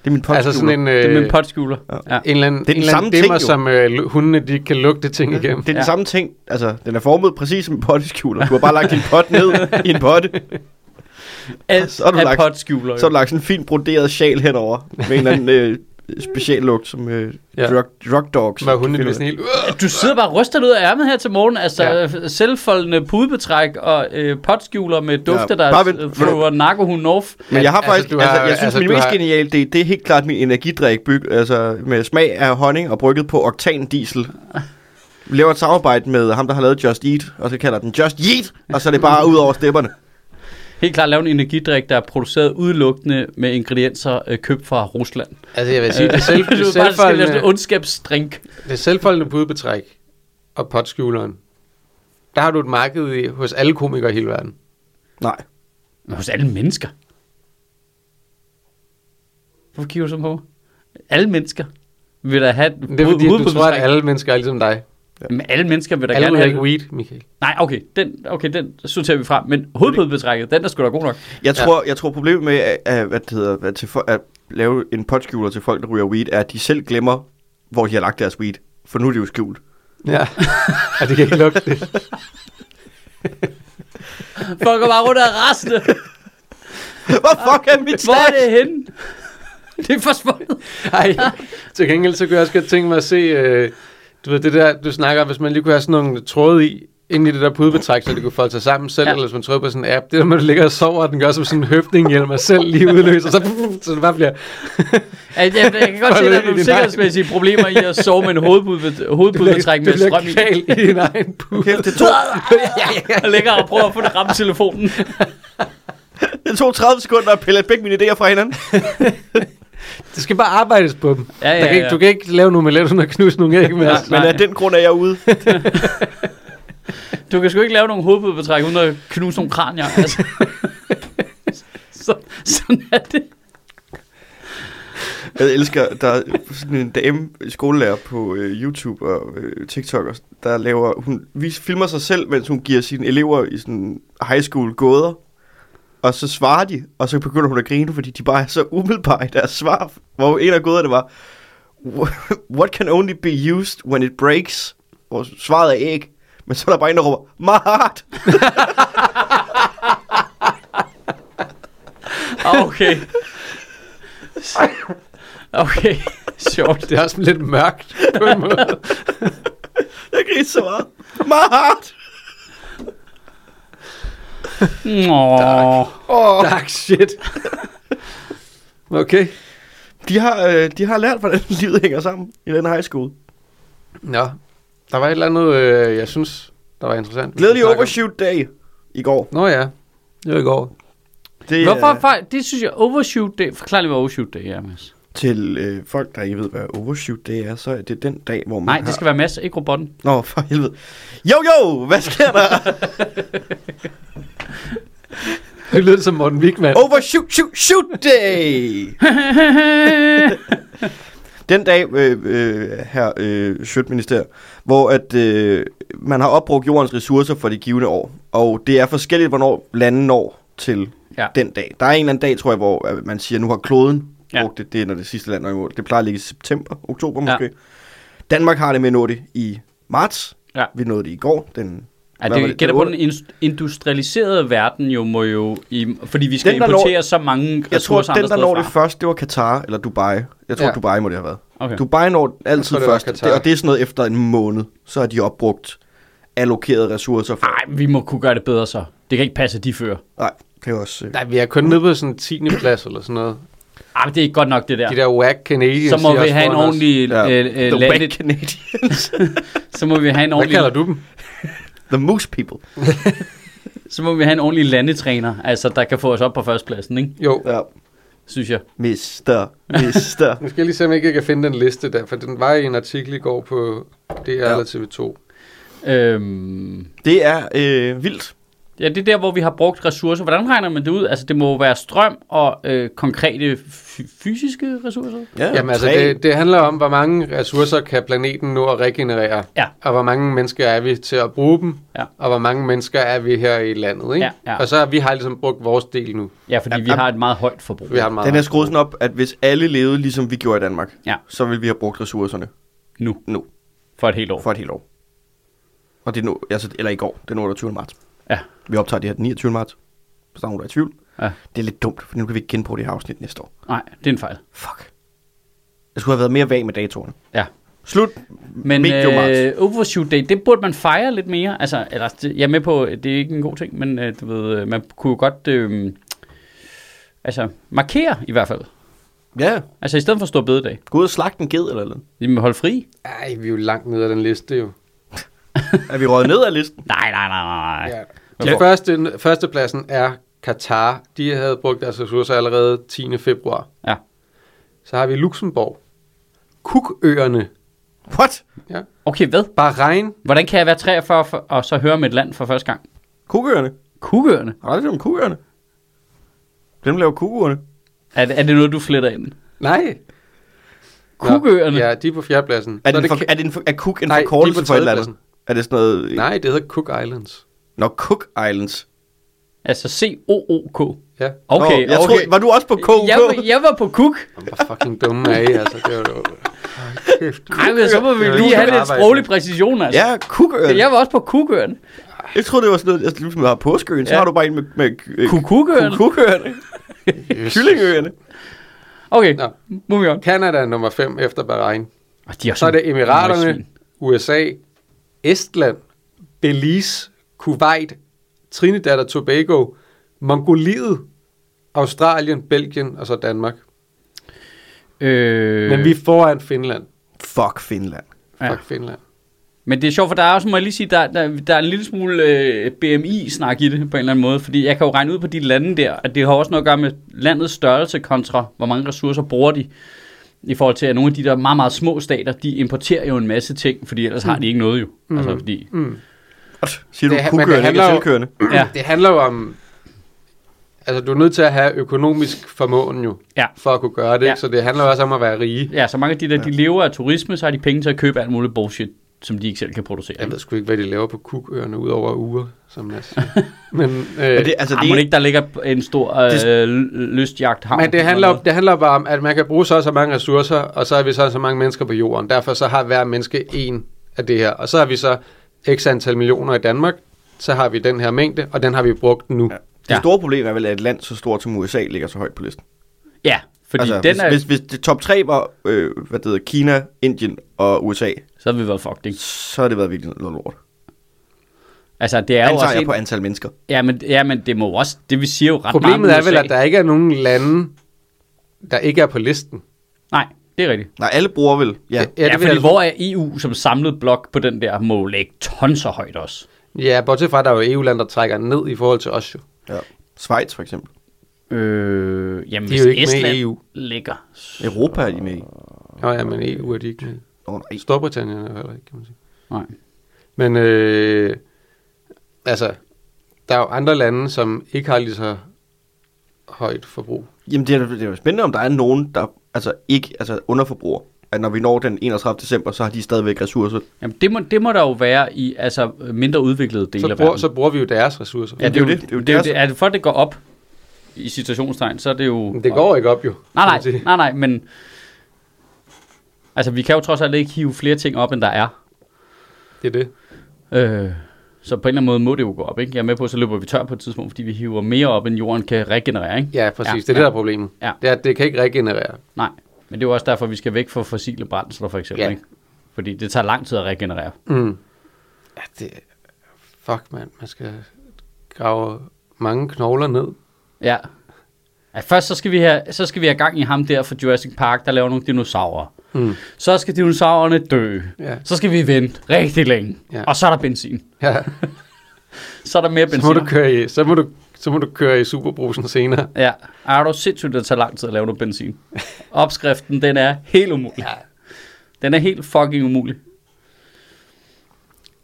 [SPEAKER 3] Det er min potskjuler.
[SPEAKER 2] Altså sådan en... Øh,
[SPEAKER 1] det er min potskjuler. Ja.
[SPEAKER 2] en eller anden,
[SPEAKER 3] Det er den
[SPEAKER 2] en eller
[SPEAKER 3] samme
[SPEAKER 2] anden
[SPEAKER 3] ting,
[SPEAKER 2] dimmer,
[SPEAKER 3] jo.
[SPEAKER 2] som øh, lu- hundene de ikke kan lugte ting igennem.
[SPEAKER 3] Det er den
[SPEAKER 1] Ja.
[SPEAKER 3] samme ting. Altså, den er formet præcis som en potteskjuler. Du har bare lagt din pot ned i en potte.
[SPEAKER 1] Alt
[SPEAKER 3] så har du
[SPEAKER 1] er
[SPEAKER 3] lagt-
[SPEAKER 1] potskjuler.
[SPEAKER 3] Så har du lagt sådan en fin broderet sjal henover. Med en eller anden øh, speciel lugt, som øh,
[SPEAKER 2] Ja.
[SPEAKER 3] drug, drug dogs.
[SPEAKER 2] Hvor hundene
[SPEAKER 3] finder.
[SPEAKER 2] bliver sådan helt... "Uah!"
[SPEAKER 1] Du sidder bare og ryster det ud af ærmet her til morgen. Altså
[SPEAKER 2] Ja.
[SPEAKER 1] ja. selvfoldende pudebetræk og øh, potskjuler med dufte, ja.
[SPEAKER 3] bare vent.
[SPEAKER 1] der øh, thrower narkohunden off.
[SPEAKER 3] Men jeg har
[SPEAKER 2] Altså,
[SPEAKER 3] faktisk,
[SPEAKER 2] du
[SPEAKER 3] altså,
[SPEAKER 2] har-
[SPEAKER 3] jeg synes,
[SPEAKER 2] altså,
[SPEAKER 3] min
[SPEAKER 2] du
[SPEAKER 3] mest
[SPEAKER 2] har-
[SPEAKER 3] geniale idé, det er helt klart min energidrik, byg, altså med smag af honning og brygget på oktandiesel. Vi laver et samarbejde med ham, der har lavet Just Eat, og så kalder den Just Yeet, og så er det bare ud over stepperne.
[SPEAKER 1] Helt klart lave en energidrik, der er produceret udelukkende med ingredienser øh, købt fra Rusland. Øh,
[SPEAKER 2] Altså, jeg vil sige, det, selv,
[SPEAKER 1] du
[SPEAKER 2] det,
[SPEAKER 1] bare skal lave
[SPEAKER 2] selvfoldende,
[SPEAKER 1] sådan en ondskabsdrink.
[SPEAKER 2] det selvfoldende pudebetræk og potskjuleren, der har du et marked i, hos alle komikere i hele verden.
[SPEAKER 3] Nej.
[SPEAKER 1] Men hos alle mennesker. Hvorfor kigger du så på? mig? Alle mennesker vil da have...
[SPEAKER 2] Men Det er fordi, at du tror, at alle mennesker er ligesom dig.
[SPEAKER 1] Men alle mennesker vil da
[SPEAKER 2] Alle
[SPEAKER 1] gerne
[SPEAKER 2] ryger ikke
[SPEAKER 1] have...
[SPEAKER 2] weed, Michael.
[SPEAKER 1] Nej, okay, den, okay, den sorterer vi fra. Men hovedbudbetrækket, den er sgu da god nok.
[SPEAKER 3] Jeg
[SPEAKER 2] Ja.
[SPEAKER 3] tror, jeg tror problemet med at, at, hvad det hedder, at, til for, at lave en potskjuler til folk, der ryger weed, er, at de selv glemmer, hvor de har lagt deres weed. For nu er det jo skjult.
[SPEAKER 2] Ja, og det kan ikke lugte det.
[SPEAKER 1] Folk går bare rundt og er rasende.
[SPEAKER 3] Hvor fuck er mit
[SPEAKER 1] Hvor er
[SPEAKER 3] stash?
[SPEAKER 1] det henne? Det er forsvundet.
[SPEAKER 2] Ej, til gengæld så kunne jeg også godt tænke mig at se, øh, du ved det der, du snakker om, hvis man lige kunne have sådan nogle tråde i, ind i det der pudebetræk, så det kunne folde sig sammen selv,
[SPEAKER 1] Ja.
[SPEAKER 2] ja. eller hvis man trykker på sådan en app, det der, man ligger og sover, og den gør som sådan en høfninghjelm, og selv lige udløser, så, så det bare bliver,
[SPEAKER 1] Altså, jeg, jeg kan godt se, at der er
[SPEAKER 2] Forløb i
[SPEAKER 1] nogle
[SPEAKER 2] din
[SPEAKER 1] sikkerhedsmæssige problemer i at sove med en hovedpudbet- hovedpudbetræk
[SPEAKER 2] det
[SPEAKER 1] med
[SPEAKER 2] bliver
[SPEAKER 1] strøm i.
[SPEAKER 2] kval i din egen pude.
[SPEAKER 3] Kæft, det tog,
[SPEAKER 1] Og ligger og prøver at få det ramt telefonen.
[SPEAKER 3] det tog 30 sekunder at pille begge mine idéer fra hinanden.
[SPEAKER 2] Det skal bare arbejdes på dem.
[SPEAKER 1] Ja,
[SPEAKER 2] Der
[SPEAKER 1] ja,
[SPEAKER 2] kan ikke,
[SPEAKER 1] ja.
[SPEAKER 2] du kan ikke lave nogle omelet, uden at knuse nogle æg med.
[SPEAKER 1] Ja.
[SPEAKER 2] os.
[SPEAKER 3] Men
[SPEAKER 1] Nej.
[SPEAKER 3] af den grund er jeg ude.
[SPEAKER 1] Du kan sgu ikke lave nogen hovedpudbetræk uden at knuse nogle kranier. Altså. Så, sådan er det.
[SPEAKER 3] Jeg elsker, der er sådan en dame skolelærer på øh, YouTube og øh, TikTok, og sådan, der laver, hun vis, filmer sig selv, mens hun giver sine elever i sådan high school gåder, og så svarer de, og så begynder hun at grine, fordi de bare er så umiddelbare i deres svar, hvor en af gåderne var, what can only be used when it breaks, hvor svaret er æg, men så er der bare en, der råber, my heart!
[SPEAKER 1] Ah, Okay. Okay, sjovt.
[SPEAKER 2] Det er også lidt mørkt på en måde.
[SPEAKER 3] Jeg griner så meget, my heart!
[SPEAKER 1] Nå.
[SPEAKER 3] Oh.
[SPEAKER 2] Dark shit. Okay.
[SPEAKER 3] De, har, øh, de har lært, hvordan livet hænger sammen i den high school.
[SPEAKER 2] Nå, der var et eller andet, øh, jeg synes, der var interessant. vi
[SPEAKER 3] Glædelig
[SPEAKER 2] kunne snakke om.
[SPEAKER 3] overshoot dag i går.
[SPEAKER 2] Nå ja, det var i går.
[SPEAKER 3] Det
[SPEAKER 1] Hvorfor? fejl- Det synes jeg, overshoot det. Forklar lige, hvad overshoot det er, Mads.
[SPEAKER 3] Til øh, folk, der ikke ved, hvad overshoot det er, så er det den dag, hvor man
[SPEAKER 1] Nej,
[SPEAKER 3] har...
[SPEAKER 1] det skal være Mads, ikke robotten.
[SPEAKER 3] Nå, for helvede. Jo, jo, hvad sker der?
[SPEAKER 2] Det lød som Morten Wigman.
[SPEAKER 3] overshoot, shoot, shoot day! Den dag, øh, øh, her øh, Sjøtminister, hvor at, øh, man har opbrugt jordens ressourcer for de givende år. Og det er forskelligt, hvornår landene når til
[SPEAKER 1] Ja.
[SPEAKER 3] den dag. Der er en eller anden dag, tror jeg, hvor øh, man siger, nu har kloden
[SPEAKER 1] Ja.
[SPEAKER 3] ja. brugt det. Det er, når det sidste land er i mål. Det plejer at ligge i september, oktober
[SPEAKER 1] Ja.
[SPEAKER 3] måske. Danmark har det med at nå det i marts.
[SPEAKER 1] Ja.
[SPEAKER 3] Vi nåede det i går. Den,
[SPEAKER 1] Ja,
[SPEAKER 3] hvad var
[SPEAKER 1] Altså, det gælder på
[SPEAKER 3] otte-
[SPEAKER 1] den indus- industrialiserede verden jo, må jo i, fordi vi skal den,
[SPEAKER 3] Den, der
[SPEAKER 1] importere når, så mange
[SPEAKER 3] Jeg tror,
[SPEAKER 1] ressourcer
[SPEAKER 3] den, der
[SPEAKER 1] andre
[SPEAKER 3] når
[SPEAKER 1] steder
[SPEAKER 3] det
[SPEAKER 1] fra.
[SPEAKER 3] først, det var Katar eller Dubai. Jeg tror,
[SPEAKER 2] Ja.
[SPEAKER 3] ja. Dubai må det have været.
[SPEAKER 1] Okay.
[SPEAKER 3] Dubai når altid
[SPEAKER 2] tror, det var
[SPEAKER 3] først,
[SPEAKER 2] Qatar.
[SPEAKER 3] det, og det er sådan noget efter en måned, så er de opbrugt allokerede ressourcer. For,
[SPEAKER 1] Ej, vi må kunne gøre det bedre så. Det kan ikke passe, at de fører.
[SPEAKER 3] nej, det er også... Øh,
[SPEAKER 2] Nej, vi er kun nede på sådan en 10. plads eller sådan noget.
[SPEAKER 1] Ej, men det er ikke godt nok, det der.
[SPEAKER 2] Ja. De der whack Canadians.
[SPEAKER 1] så
[SPEAKER 2] de er
[SPEAKER 1] må vi
[SPEAKER 2] også
[SPEAKER 1] have en
[SPEAKER 2] foran os.
[SPEAKER 1] ordentlig
[SPEAKER 3] Ja.
[SPEAKER 1] øh, øh,
[SPEAKER 3] the
[SPEAKER 1] lande,
[SPEAKER 3] wet Canadians.
[SPEAKER 1] så må vi have en
[SPEAKER 2] Hvad
[SPEAKER 1] ordentlig
[SPEAKER 2] kalder du dem?
[SPEAKER 3] the moose people.
[SPEAKER 1] så må vi have en ordentlig landetræner, altså der kan få os op på førstepladsen, ikke?
[SPEAKER 2] Jo.
[SPEAKER 3] Ja.
[SPEAKER 1] Synes jeg.
[SPEAKER 3] Mister, mister.
[SPEAKER 2] Nu skal jeg lige se, om ikke jeg kan finde den liste der, for den var i en artikel i går på DR ja. eller TV2.
[SPEAKER 1] Øhm,
[SPEAKER 3] det er øh, vildt.
[SPEAKER 1] ja, det er der, hvor vi har brugt ressourcer. Hvordan regner man det ud? Altså, det må jo være strøm og øh, konkrete f- fysiske ressourcer.
[SPEAKER 3] Ja,
[SPEAKER 2] Jamen altså,
[SPEAKER 3] træ.
[SPEAKER 2] det, det handler om, hvor mange ressourcer kan planeten nå at regenerere,
[SPEAKER 1] Ja.
[SPEAKER 2] og hvor mange mennesker er vi til at bruge dem,
[SPEAKER 1] Ja.
[SPEAKER 2] og hvor mange mennesker er vi her i landet, ikke?
[SPEAKER 1] Ja, ja.
[SPEAKER 2] Og så har vi har ligesom brugt vores del nu.
[SPEAKER 1] Ja, fordi
[SPEAKER 3] Jamen,
[SPEAKER 1] vi har et meget højt forbrug.
[SPEAKER 2] Vi har meget.
[SPEAKER 3] Den er skruet sådan op, at hvis alle levede, ligesom vi gjorde i Danmark,
[SPEAKER 1] Ja.
[SPEAKER 3] så ville vi have brugt ressourcerne
[SPEAKER 1] Nu,
[SPEAKER 3] nu,
[SPEAKER 1] for et helt år.
[SPEAKER 3] for et helt år. Og det er nu, altså, eller i går, den 28. marts.
[SPEAKER 1] Ja.
[SPEAKER 3] Vi optager det her den 29. marts, hvis der er nogen, der er i tvivl.
[SPEAKER 1] Ja.
[SPEAKER 3] Det er lidt dumt, for nu kan vi ikke genbruge det her afsnit næste år.
[SPEAKER 1] Nej, det er en fejl.
[SPEAKER 3] Fuck. Jeg skulle have været mere vag med datorerne.
[SPEAKER 1] Ja.
[SPEAKER 3] Slut.
[SPEAKER 1] Men
[SPEAKER 3] Medio marts.
[SPEAKER 1] øh, overshoot day, det burde man fejre lidt mere. Altså, eller, det- jeg er med på, at det er ikke en god ting, men øh, du ved, øh, man kunne jo godt øh, altså, markere i hvert fald.
[SPEAKER 3] Ja,
[SPEAKER 1] Altså i stedet for stor bededag.
[SPEAKER 3] gå ud og slagte en ged eller noget.
[SPEAKER 1] Jamen hold fri.
[SPEAKER 2] Ej, vi er jo langt nede af den liste jo.
[SPEAKER 3] Er vi røget ned af listen?
[SPEAKER 1] Nej, nej, nej, nej.
[SPEAKER 2] Ja.
[SPEAKER 1] Ja.
[SPEAKER 2] Den første, førstepladsen er Katar. De havde brugt deres ressourcer allerede 10. februar.
[SPEAKER 1] ja.
[SPEAKER 2] Så har vi Luxembourg. Cookøerne.
[SPEAKER 3] What?
[SPEAKER 2] Ja.
[SPEAKER 1] Okay, hvad?
[SPEAKER 2] Bahrain.
[SPEAKER 1] Hvordan kan jeg være 43 for, og så høre om et land for første gang?
[SPEAKER 3] Kugøerne?
[SPEAKER 1] Kugøerne?
[SPEAKER 3] Har du aldrig hørt om kugøerne? Dem laver kugøerne.
[SPEAKER 1] Er, det- er det noget, du fletter ind?
[SPEAKER 2] Nej. Nå,
[SPEAKER 1] Kugøerne? Ja.
[SPEAKER 2] Ja, de er på fjerdepladsen.
[SPEAKER 3] Er,
[SPEAKER 2] Så
[SPEAKER 3] det en for,
[SPEAKER 2] Ca-
[SPEAKER 3] er, det en for, er Cook en
[SPEAKER 2] Nej, de er på
[SPEAKER 3] forkortelse for et eller andet?
[SPEAKER 2] tredjepladsen.
[SPEAKER 3] Er det sådan noget...
[SPEAKER 2] Nej, det hedder Cook Islands.
[SPEAKER 3] Nå, Cook Islands.
[SPEAKER 1] Altså C-O-O-K.
[SPEAKER 2] Ja.
[SPEAKER 1] Okay,
[SPEAKER 3] Nå, jeg
[SPEAKER 1] okay.
[SPEAKER 3] Troede, var du også på KUK?
[SPEAKER 1] Jeg, var- jeg var på kuk.
[SPEAKER 2] Jamen, Hvor fucking dumme er I, altså. Det var jo... Hold kæft.
[SPEAKER 1] Ej, men så må vi
[SPEAKER 2] Det var
[SPEAKER 1] lige
[SPEAKER 2] ikke
[SPEAKER 1] have
[SPEAKER 2] mit
[SPEAKER 1] lidt
[SPEAKER 2] arbejde.
[SPEAKER 1] sproglig præcision, altså.
[SPEAKER 3] Ja, Cookøerne.
[SPEAKER 1] Jeg var også på kugøerne.
[SPEAKER 3] Jeg troede, det var sådan noget, altså, ligesom du har påskeøen, så
[SPEAKER 1] Ja.
[SPEAKER 3] har du bare en med, med øh,
[SPEAKER 1] Kukukøerne.
[SPEAKER 3] Kukøerne.
[SPEAKER 2] Jesus.
[SPEAKER 3] Kyllingøerne.
[SPEAKER 1] Okay,
[SPEAKER 2] Nå.
[SPEAKER 1] moving on.
[SPEAKER 2] Canada er nummer 5 efter Bahrain.
[SPEAKER 1] Og de er
[SPEAKER 2] Så er det Emiraterne,
[SPEAKER 1] møgsvin.
[SPEAKER 2] USA, Estland, Belize, Kuwait, Trinidad og Tobago, Mongoliet, Australien, Belgien og så Danmark.
[SPEAKER 1] Øh,
[SPEAKER 2] Men vi er foran Finland.
[SPEAKER 3] Fuck Finland.
[SPEAKER 1] Ja.
[SPEAKER 2] Fuck Finland.
[SPEAKER 1] Men det er sjovt, for der er også, må jeg lige sige, der, der, der er en lille smule øh, BMI-snak i det på en eller anden måde, fordi jeg kan jo regne ud på de lande der, at det har også noget at gøre med landets størrelse kontra, hvor mange ressourcer bruger de, i forhold til, at nogle af de der meget, meget små stater, de importerer jo en masse ting, fordi ellers har de ikke noget jo. Mm. Altså, fordi,
[SPEAKER 2] Mm.
[SPEAKER 3] What? Siger du
[SPEAKER 2] Det- men det
[SPEAKER 3] kukøerne, ikke
[SPEAKER 2] handler jo-
[SPEAKER 3] tilkørende?
[SPEAKER 1] Ja.
[SPEAKER 2] Ja. Det handler jo om... Altså, du er nødt til at have økonomisk formåen jo,
[SPEAKER 1] Ja.
[SPEAKER 2] for at kunne gøre det.
[SPEAKER 1] Ja.
[SPEAKER 2] Ja. Så det handler jo også om at være rige.
[SPEAKER 1] ja, så mange af de der, de lever af turisme, så har de penge til at købe alt muligt bullshit, som de ikke selv kan producere.
[SPEAKER 2] Jeg ved sgu ikke, hvad de laver på Cookøerne, udover uger, som Mads siger. men, øh,
[SPEAKER 3] Men det, altså,
[SPEAKER 1] Ej,
[SPEAKER 3] det,
[SPEAKER 1] må det
[SPEAKER 3] er,
[SPEAKER 1] Ah, ikke, der ligger en stor øh, l- lystjagthavn?
[SPEAKER 2] men det,
[SPEAKER 1] eller
[SPEAKER 2] handler,
[SPEAKER 1] noget?
[SPEAKER 2] det handler bare om, at man kan bruge så og så mange ressourcer, og så er vi så og så mange mennesker på jorden. Derfor så har hver menneske en af det her. Og så har vi så x antal millioner i Danmark, så har vi den her mængde, og den har vi brugt nu. Ja.
[SPEAKER 3] det
[SPEAKER 1] Ja.
[SPEAKER 3] store problem er vel, at et land så stort som USA ligger så højt på listen.
[SPEAKER 1] Ja, fordi
[SPEAKER 3] altså,
[SPEAKER 1] altså, den
[SPEAKER 3] hvis,
[SPEAKER 1] er,
[SPEAKER 3] hvis, hvis det top 3 var øh, hvad det hedder, Kina, Indien og USA,
[SPEAKER 1] så har vi været fucked, ikke?
[SPEAKER 3] så har det været virkelig noget lort.
[SPEAKER 1] Altså, det er
[SPEAKER 3] Jeg
[SPEAKER 1] jo
[SPEAKER 3] Antager
[SPEAKER 1] også
[SPEAKER 3] jeg
[SPEAKER 1] et,
[SPEAKER 3] på antal mennesker.
[SPEAKER 1] Ja, men, ja, men det må jo også, det vil sige jo ret meget
[SPEAKER 2] Problemet
[SPEAKER 1] om
[SPEAKER 2] er vel,
[SPEAKER 1] USA.
[SPEAKER 2] at der ikke er nogen lande, der ikke er på listen.
[SPEAKER 1] Nej, det er rigtigt.
[SPEAKER 3] Nej, alle bruger vel. Ja.
[SPEAKER 1] Ja, ja
[SPEAKER 2] det vil
[SPEAKER 1] fordi
[SPEAKER 2] jeg-
[SPEAKER 1] hvor er EU som samlet blok på den der, må jo lægge tons og højt også.
[SPEAKER 2] Ja, bortset fra, at der er jo EU-land, der trækker ned i forhold til os jo.
[SPEAKER 3] ja. Schweiz for eksempel.
[SPEAKER 1] Øh, jamen,
[SPEAKER 2] De er
[SPEAKER 1] hvis
[SPEAKER 2] jo ikke med i E
[SPEAKER 1] Estland
[SPEAKER 2] EU.
[SPEAKER 1] ligger...
[SPEAKER 3] Europa er de med i.
[SPEAKER 2] Nå ja, men EU er de ikke med.
[SPEAKER 3] Oh, nej.
[SPEAKER 2] Storbritannien er jo heller ikke, kan man sige.
[SPEAKER 1] Nej.
[SPEAKER 2] Men øh, altså, der er jo andre lande, som ikke har lige så højt forbrug.
[SPEAKER 3] Jamen, det er, det er jo spændende, om der er nogen, der altså, ikke altså, underforbruger. At når vi når den 31. december, så har de stadigvæk ressourcer.
[SPEAKER 1] Jamen, det må, det må der jo være i altså, mindre udviklede dele
[SPEAKER 2] Så
[SPEAKER 1] af
[SPEAKER 2] bruger,
[SPEAKER 1] verden.
[SPEAKER 2] så bruger vi jo deres ressourcer.
[SPEAKER 1] ja, det er jo det.
[SPEAKER 3] jo
[SPEAKER 1] det, er jo
[SPEAKER 3] deres-
[SPEAKER 1] det. Er det for, at det går op? i citationstegn, så er det jo...
[SPEAKER 2] Men det går ikke op jo. kan
[SPEAKER 1] Nej,
[SPEAKER 2] man
[SPEAKER 1] nej,
[SPEAKER 2] sige.
[SPEAKER 1] nej, nej, men... Altså, vi kan jo trods alt ikke hive flere ting op, end der er.
[SPEAKER 2] Det er det.
[SPEAKER 1] Øh, så på en eller anden måde må det jo gå op, ikke? Jeg er med på, at så løber vi tør på et tidspunkt, fordi vi hiver mere op, end jorden kan regenerere, ikke?
[SPEAKER 2] Ja, præcis.
[SPEAKER 1] Ja,
[SPEAKER 2] Ja, det er det,
[SPEAKER 1] ja.
[SPEAKER 2] der er problemet.
[SPEAKER 1] Ja.
[SPEAKER 2] Det, er, at det kan ikke regenerere.
[SPEAKER 1] Nej, men det er jo også derfor, vi skal væk fra fossile brændsler, for eksempel,
[SPEAKER 2] Ja.
[SPEAKER 1] ikke? Fordi det tager lang tid at regenerere.
[SPEAKER 2] Mm. Ja, det... Fuck, mand. Man skal grave mange knogler ned.
[SPEAKER 1] Ja. ja først så skal, vi have, så skal vi have gang i ham der fra Jurassic Park, der laver nogle dinosaurer.
[SPEAKER 2] Mm.
[SPEAKER 1] Så skal dinosaurerne dø.
[SPEAKER 2] Ja.
[SPEAKER 1] Så skal vi vente rigtig længe.
[SPEAKER 2] Ja.
[SPEAKER 1] Og så er der benzin.
[SPEAKER 2] ja.
[SPEAKER 1] Så er der mere benzin.
[SPEAKER 2] Så, må du køre i, så, må du, så må du køre i superbrusen senere.
[SPEAKER 1] Ja, er du sindssygt, det tager lang tid at lave noget benzin. Opskriften, den er helt umulig. Ja. Den er helt fucking umulig.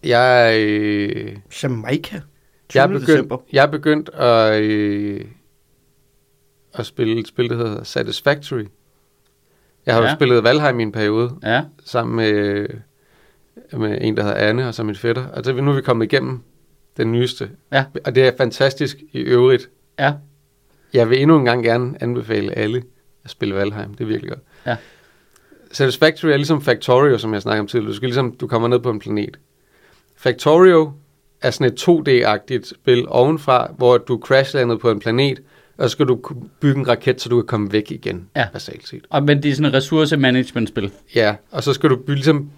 [SPEAKER 2] Jeg, øh,
[SPEAKER 3] Jamaica. 20.
[SPEAKER 2] jeg, er
[SPEAKER 3] Begyndt... december.
[SPEAKER 2] begyndt, jeg er begyndt at, øh, at spille et spil, der hedder Satisfactory. Jeg har ja.
[SPEAKER 1] Ja.
[SPEAKER 2] jo spillet Valheim i en periode,
[SPEAKER 1] Ja,
[SPEAKER 2] sammen med, med en, der hedder Anne, og så min fætter. Og så er vi- nu er vi kommet igennem den nyeste.
[SPEAKER 1] Ja.
[SPEAKER 2] Og det er fantastisk i øvrigt.
[SPEAKER 1] ja.
[SPEAKER 2] Jeg vil endnu en gang gerne anbefale alle at spille Valheim. Det er virkelig godt.
[SPEAKER 1] Ja.
[SPEAKER 2] Satisfactory er ligesom Factorio, som jeg snakkede om tidligere. Du, skal ligesom, du kommer ned på en planet. Factorio er sådan et 2D-agtigt spil ovenfra, hvor du crashlander på en planet, og så skal du kunne bygge en raket, så du kan komme væk igen,
[SPEAKER 1] Ja.
[SPEAKER 2] basalt set.
[SPEAKER 1] Og, men det er sådan et ressourcemanagement-spil.
[SPEAKER 2] Ja, og så skal du by- ligesom,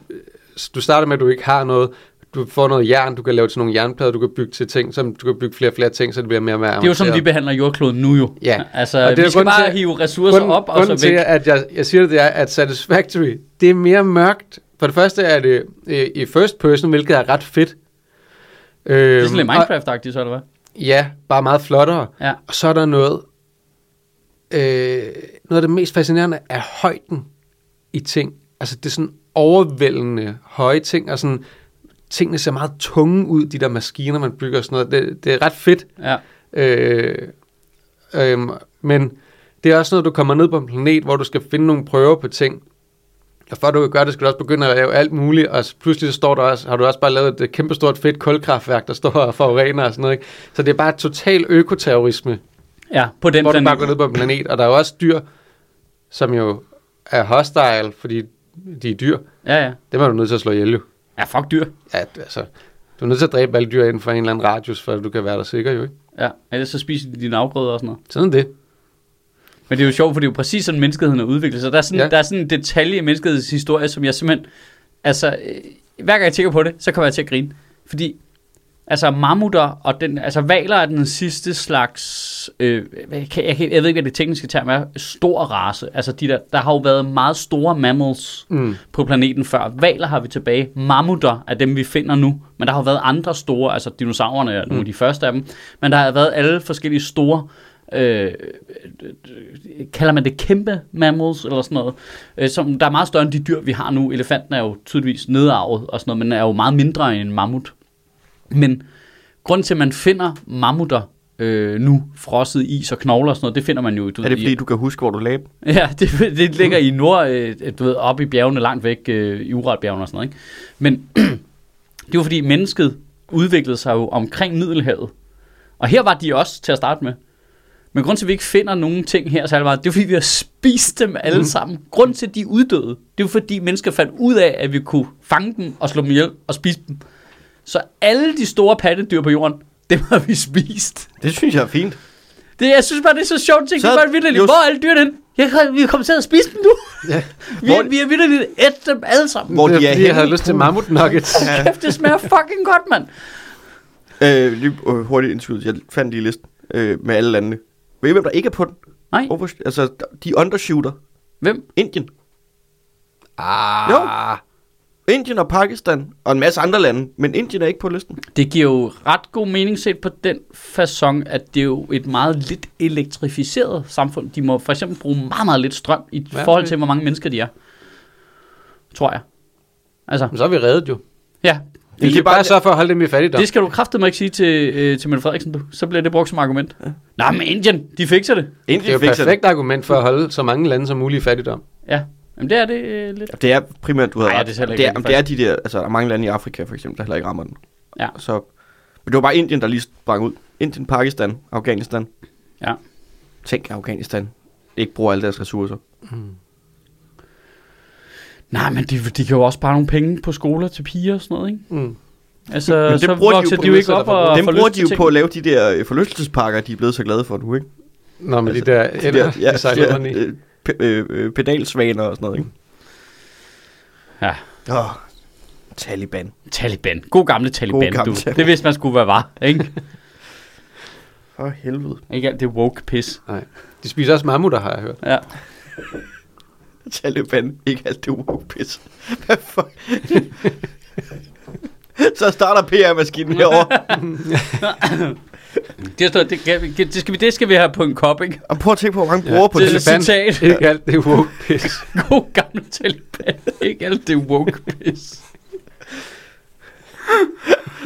[SPEAKER 2] du starter med, at du ikke har noget, du får noget jern, du kan lave til nogle jernplader, du kan bygge til ting, som du kan bygge flere og flere ting, så det bliver mere og mere
[SPEAKER 1] Det er jo som, vi behandler jordkloden nu jo.
[SPEAKER 2] Ja.
[SPEAKER 1] Altså,
[SPEAKER 2] Og det er
[SPEAKER 1] vi
[SPEAKER 2] jo
[SPEAKER 1] skal
[SPEAKER 2] grunden
[SPEAKER 1] bare
[SPEAKER 2] til-
[SPEAKER 1] hive ressourcer op, og så
[SPEAKER 2] grunden
[SPEAKER 1] væk.
[SPEAKER 2] til, at jeg, jeg siger det, det er, at Satisfactory, det er mere mørkt. For det første er det øh, i first person, hvilket er ret fedt. Øhm,
[SPEAKER 1] det er sådan lidt Minecraft-agtigt, så eller hvad?
[SPEAKER 2] Og, ja, bare meget flottere.
[SPEAKER 1] Ja.
[SPEAKER 2] Og så er der noget, øh, noget af det mest fascinerende er højden i ting. Altså det er sådan overvældende høje ting, og sådan, tingene ser meget tunge ud, de der maskiner, man bygger og sådan noget. Det, det er ret fedt.
[SPEAKER 1] Ja.
[SPEAKER 2] Øh, øhm, men det er også noget, du kommer ned på en planet, hvor du skal finde nogle prøver på ting. Og før du kan gøre det, skal du også begynde at lave alt muligt, og så pludselig så står der også, har du også bare lavet et øh, kæmpestort fedt kulkraftværk, der står og forurener og sådan noget. Ikke? Så det er bare total økoterrorisme,
[SPEAKER 1] ja, på den
[SPEAKER 2] hvor du bare
[SPEAKER 1] planet.
[SPEAKER 2] går ned på en planet, og der er jo også dyr, som jo er hostile, fordi de er dyr.
[SPEAKER 1] Ja, ja.
[SPEAKER 2] Dem er du nødt til at slå ihjel jo.
[SPEAKER 1] Ja, fuck dyr.
[SPEAKER 2] Ja, altså, du er nødt til at dræbe alle dyr inden for en eller anden radius, for at du kan være der sikker jo, ikke?
[SPEAKER 1] Ja, ellers så spiser de dine afgrøder og sådan noget.
[SPEAKER 2] Sådan er det.
[SPEAKER 1] Men det er jo sjovt, for det er jo præcis sådan, menneskeheden har udviklet sig. Der er sådan, ja.
[SPEAKER 2] Ja.
[SPEAKER 1] der er sådan en detalje i menneskehedens historie, som jeg simpelthen... Altså, øh, hver gang jeg tænker på det, så kommer jeg til at grine. Fordi, altså mammutter og den... Altså valer er den sidste slags... Øh, jeg, kan, jeg, kan, jeg ved ikke, hvad det tekniske term er. Stor race. Altså, de der, der har jo været meget store mammals
[SPEAKER 2] Mm.
[SPEAKER 1] på planeten før. Valer har vi tilbage.
[SPEAKER 3] Mm.
[SPEAKER 1] Mammutter er dem, vi finder nu. Men der har jo været andre store, altså dinosaurerne er nogle
[SPEAKER 3] Mm.
[SPEAKER 1] af de første af dem. Men der har været alle forskellige store, øh, øh, kalder man det kæmpe mammals eller sådan noget, øh, som der er meget større end de dyr, vi har nu. Elefanten er jo tydeligvis nedarvet og sådan noget, men er jo meget mindre end en mammut. Men grunden til, at man finder mammutter øh, nu, frosset is og knogler og sådan noget, det finder man jo du
[SPEAKER 3] Er det
[SPEAKER 1] ved, i-
[SPEAKER 3] fordi, du kan huske, hvor du lagde dem?
[SPEAKER 1] Ja, det, det ligger i nord, øh, du ved, oppe i bjergene, langt væk øh, i Uratbjergene og sådan noget. Ikke? Men det var fordi mennesket udviklede sig jo omkring Middelhavet. Og her var de også til at starte med. Men grund til, at vi ikke finder nogen ting her særlig meget, det er fordi, vi har spist dem alle mm. sammen. Grund til, at de er uddøde, det er fordi mennesker fandt ud af, at vi kunne fange dem og slå dem ihjel og spise dem. Så alle de store pattedyr på jorden, dem har vi spist.
[SPEAKER 3] Det synes jeg er fint.
[SPEAKER 1] Det, jeg synes bare, det er så sjovt ting.
[SPEAKER 3] Så-
[SPEAKER 1] Så, det er bare vildt,
[SPEAKER 3] jo-
[SPEAKER 1] hvor er alle dyrene henne? Jeg, kan- vi er kommet til at spise dem nu.
[SPEAKER 2] Ja.
[SPEAKER 1] vi,
[SPEAKER 3] Hvor-
[SPEAKER 1] hvor... vi er vildt et dem alle sammen.
[SPEAKER 3] Hvor
[SPEAKER 2] det
[SPEAKER 3] de er
[SPEAKER 2] fordi, jeg havde
[SPEAKER 3] henne
[SPEAKER 2] lyst til mammut nuggets.
[SPEAKER 1] Hvor... Kæft, det smager fucking godt, mand.
[SPEAKER 3] Øh, lige øh, hurtigt indskydelse. Jeg fandt lige listen øh, med alle landene. Ved I, hvem der ikke er på den?
[SPEAKER 1] Nej.
[SPEAKER 3] Over, altså, de undershooter.
[SPEAKER 1] Hvem?
[SPEAKER 3] Indien.
[SPEAKER 2] ah,
[SPEAKER 3] Jo. Indien og Pakistan og en masse andre lande, men Indien er ikke på listen.
[SPEAKER 1] Det giver jo ret god mening set på den façon, at det er jo et meget lidt elektrificeret samfund. De må for eksempel bruge meget, meget lidt strøm i
[SPEAKER 2] Ja,
[SPEAKER 1] forhold
[SPEAKER 2] det-
[SPEAKER 1] til, hvor mange mennesker de er. Tror jeg. Altså,
[SPEAKER 2] Men så er vi reddet jo.
[SPEAKER 1] ja.
[SPEAKER 2] Vi
[SPEAKER 3] Det er
[SPEAKER 2] kan
[SPEAKER 3] bare-
[SPEAKER 2] bare sørge for at holde dem i fattigdom.
[SPEAKER 1] Det skal du kraftedeme ikke sige til, øh, til Mette Frederiksen, du. Så bliver det brugt som argument. Ja. Nej, men Indien, de fikser det.
[SPEAKER 2] det er jo
[SPEAKER 3] Indien
[SPEAKER 2] et
[SPEAKER 3] fik det.
[SPEAKER 2] perfekt argument for at holde så mange lande som muligt i fattigdom.
[SPEAKER 1] Ja, Jamen, det er det øh, lidt.
[SPEAKER 3] Det er primært, du havde
[SPEAKER 1] Ej,
[SPEAKER 3] ret.
[SPEAKER 1] det er heller ikke
[SPEAKER 3] det, er,
[SPEAKER 1] rigtigt,
[SPEAKER 3] det er de der, altså der er mange lande i Afrika for eksempel, der heller ikke rammer den.
[SPEAKER 1] Ja.
[SPEAKER 3] Så, men det var bare Indien, der lige sprang ud. Indien, Pakistan, Afghanistan.
[SPEAKER 1] Ja.
[SPEAKER 3] Tænk Afghanistan. Ikke bruger alle deres ressourcer.
[SPEAKER 1] Nej, men de, de kan jo også spare nogle penge på skoler til piger og sådan noget, ikke?
[SPEAKER 2] Mm.
[SPEAKER 1] Altså,
[SPEAKER 3] Men det
[SPEAKER 1] så
[SPEAKER 3] bruger de jo
[SPEAKER 1] vokser de
[SPEAKER 2] på
[SPEAKER 1] jo ikke
[SPEAKER 2] misser,
[SPEAKER 1] op
[SPEAKER 2] der får
[SPEAKER 1] og
[SPEAKER 3] Dem
[SPEAKER 1] får
[SPEAKER 3] bruger
[SPEAKER 1] lyst
[SPEAKER 3] de
[SPEAKER 1] til
[SPEAKER 3] jo
[SPEAKER 1] ting.
[SPEAKER 3] på at lave de der øh, forlystelsespakker, de er blevet så glade for nu, ikke?
[SPEAKER 2] Nå, men
[SPEAKER 3] Altså,
[SPEAKER 2] de der ender, de, ja, de sejler ja, i.
[SPEAKER 3] øh, pe- øh, øh, pedalsvaner og sådan noget, ikke?
[SPEAKER 1] Ja.
[SPEAKER 3] Åh, Taliban.
[SPEAKER 1] Taliban. God gamle Taliban, God
[SPEAKER 3] gamle
[SPEAKER 1] gamle du.
[SPEAKER 3] Taliban.
[SPEAKER 1] Det vidste man skulle være var, ikke?
[SPEAKER 3] For helvede.
[SPEAKER 1] ikke alt det woke pis.
[SPEAKER 2] Nej. De spiser også mammutter, har jeg hørt.
[SPEAKER 1] Ja.
[SPEAKER 3] Taliban, ikke alt det woke pis. Hvad for... så starter PR-maskinen herovre.
[SPEAKER 1] Det, står, det, kan- det, skal vi, det skal vi have på en kop, ikke?
[SPEAKER 3] Og prøv at tænke på, hvor mange bruger på
[SPEAKER 1] det
[SPEAKER 3] det.
[SPEAKER 1] er citat.
[SPEAKER 2] Ikke alt det woke pis.
[SPEAKER 1] God gamle Taliban. Ikke alt det woke pis.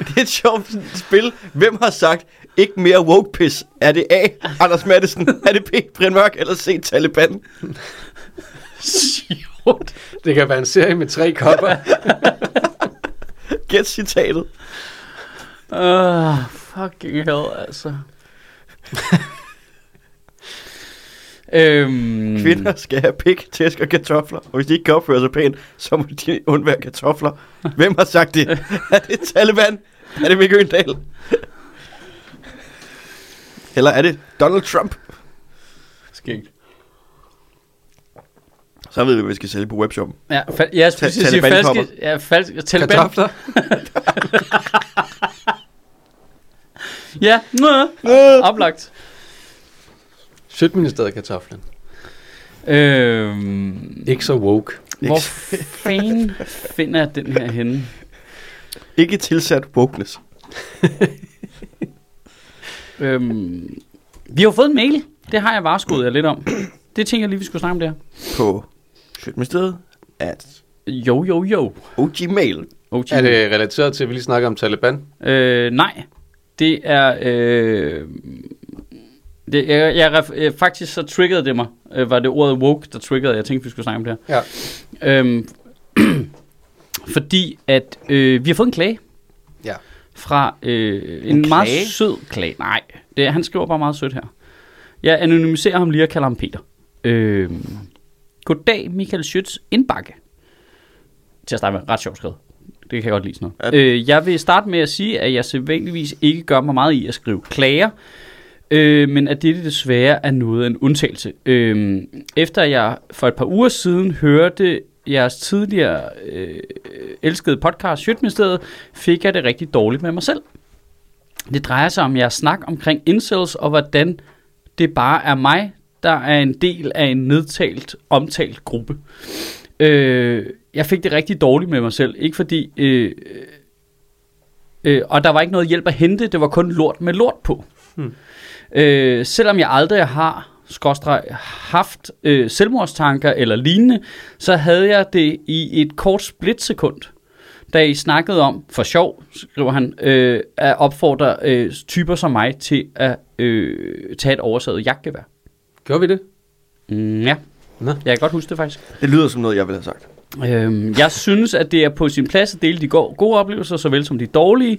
[SPEAKER 3] Det er et sjovt sådan spil. Hvem har sagt, ikke mere woke pis? Er det A, Anders Madsen? er det B, Brian Mørk? Eller C, Taliban?
[SPEAKER 1] Sjovt.
[SPEAKER 2] Det kan være en serie med tre kopper.
[SPEAKER 3] Gæt citatet.
[SPEAKER 1] Uh, fucking hell, altså. øhm,
[SPEAKER 3] Kvinder skal have pik, tæsk og kartofler, og hvis de ikke kan opføre sig pænt, så må de undvære kartofler. Hvem har sagt det? Er det Taliban? Er det Mikke Øndal? Eller er det Donald Trump?
[SPEAKER 1] Skægt.
[SPEAKER 3] Så ved vi, hvad vi skal sælge på webshoppen.
[SPEAKER 1] Ja, fa- ja, jeg skulle til at sige
[SPEAKER 3] Taliban kommer.
[SPEAKER 1] falske, ja, falske, Taliban.
[SPEAKER 2] Kartofler.
[SPEAKER 1] Ja, nå, oplagt.
[SPEAKER 2] Sødministeriet kartoflen.
[SPEAKER 1] Øhm,
[SPEAKER 2] Ikke så woke.
[SPEAKER 1] hvor
[SPEAKER 3] Ikke-
[SPEAKER 1] fanden finder jeg den her henne?
[SPEAKER 3] Ikke tilsat wokeness.
[SPEAKER 1] Øhm, vi har jo fået en mail. Det har jeg varskoet jer lidt om. Det tænker jeg lige, vi skulle snakke om der.
[SPEAKER 3] På Sjøtministeriet at
[SPEAKER 1] Jo, jo, jo.
[SPEAKER 3] OGmail.
[SPEAKER 1] Oh,
[SPEAKER 2] Er det relateret til, at vi lige snakker om Taliban?
[SPEAKER 1] Øh, nej. Det er... Øh, det, jeg, jeg, ref- øh, faktisk så triggede det mig. Øh, var det ordet woke, der triggede, jeg tænkte, vi skulle snakke om det her.
[SPEAKER 2] Ja.
[SPEAKER 1] Øhm, fordi at øh, vi har fået en klage
[SPEAKER 2] Ja.
[SPEAKER 1] fra øh, en,
[SPEAKER 3] En
[SPEAKER 1] en meget
[SPEAKER 3] klage?
[SPEAKER 1] sød klage. Nej, det, er- han skriver bare meget sødt her. Jeg anonymiserer ham lige og kalder ham Peter. Øh, Goddag, Michael Schütz Indbakke. Til at starte med, ret sjovt skrevet. Det kan jeg godt lide sådan noget. Øh, jeg vil starte med at sige, at jeg sædvanligvis ikke gør mig meget i at skrive klager, øh, men at dette desværre er noget af en undtagelse. Øh, efter jeg for et par uger siden hørte jeres tidligere øh, elskede podcast, Sjøtministeriet, fik jeg det rigtig dårligt med mig selv. Det drejer sig om jeres snak omkring incels, og hvordan det bare er mig, der er en del af en nedtalt, omtalt gruppe. Øh, jeg fik det rigtig dårligt med mig selv, ikke fordi... Øh, øh, og der var ikke noget hjælp at hente, det var kun lort med lort på. Øh, selvom jeg aldrig har skorstreg, haft øh, selvmordstanker eller lignende, så havde jeg det i et kort splitsekund, da I snakkede om, for sjov, skriver han, øh, at opfordre øh, typer som mig til at øh, tage et oversaget jagtgevær.
[SPEAKER 2] Gjorde vi det?
[SPEAKER 1] Mm, ja,
[SPEAKER 2] Nå.
[SPEAKER 1] jeg kan godt huske det faktisk.
[SPEAKER 3] Det lyder som noget, jeg ville have sagt.
[SPEAKER 1] Øhm, jeg synes, at det er på sin plads at dele de go- gode oplevelser, såvel som de dårlige.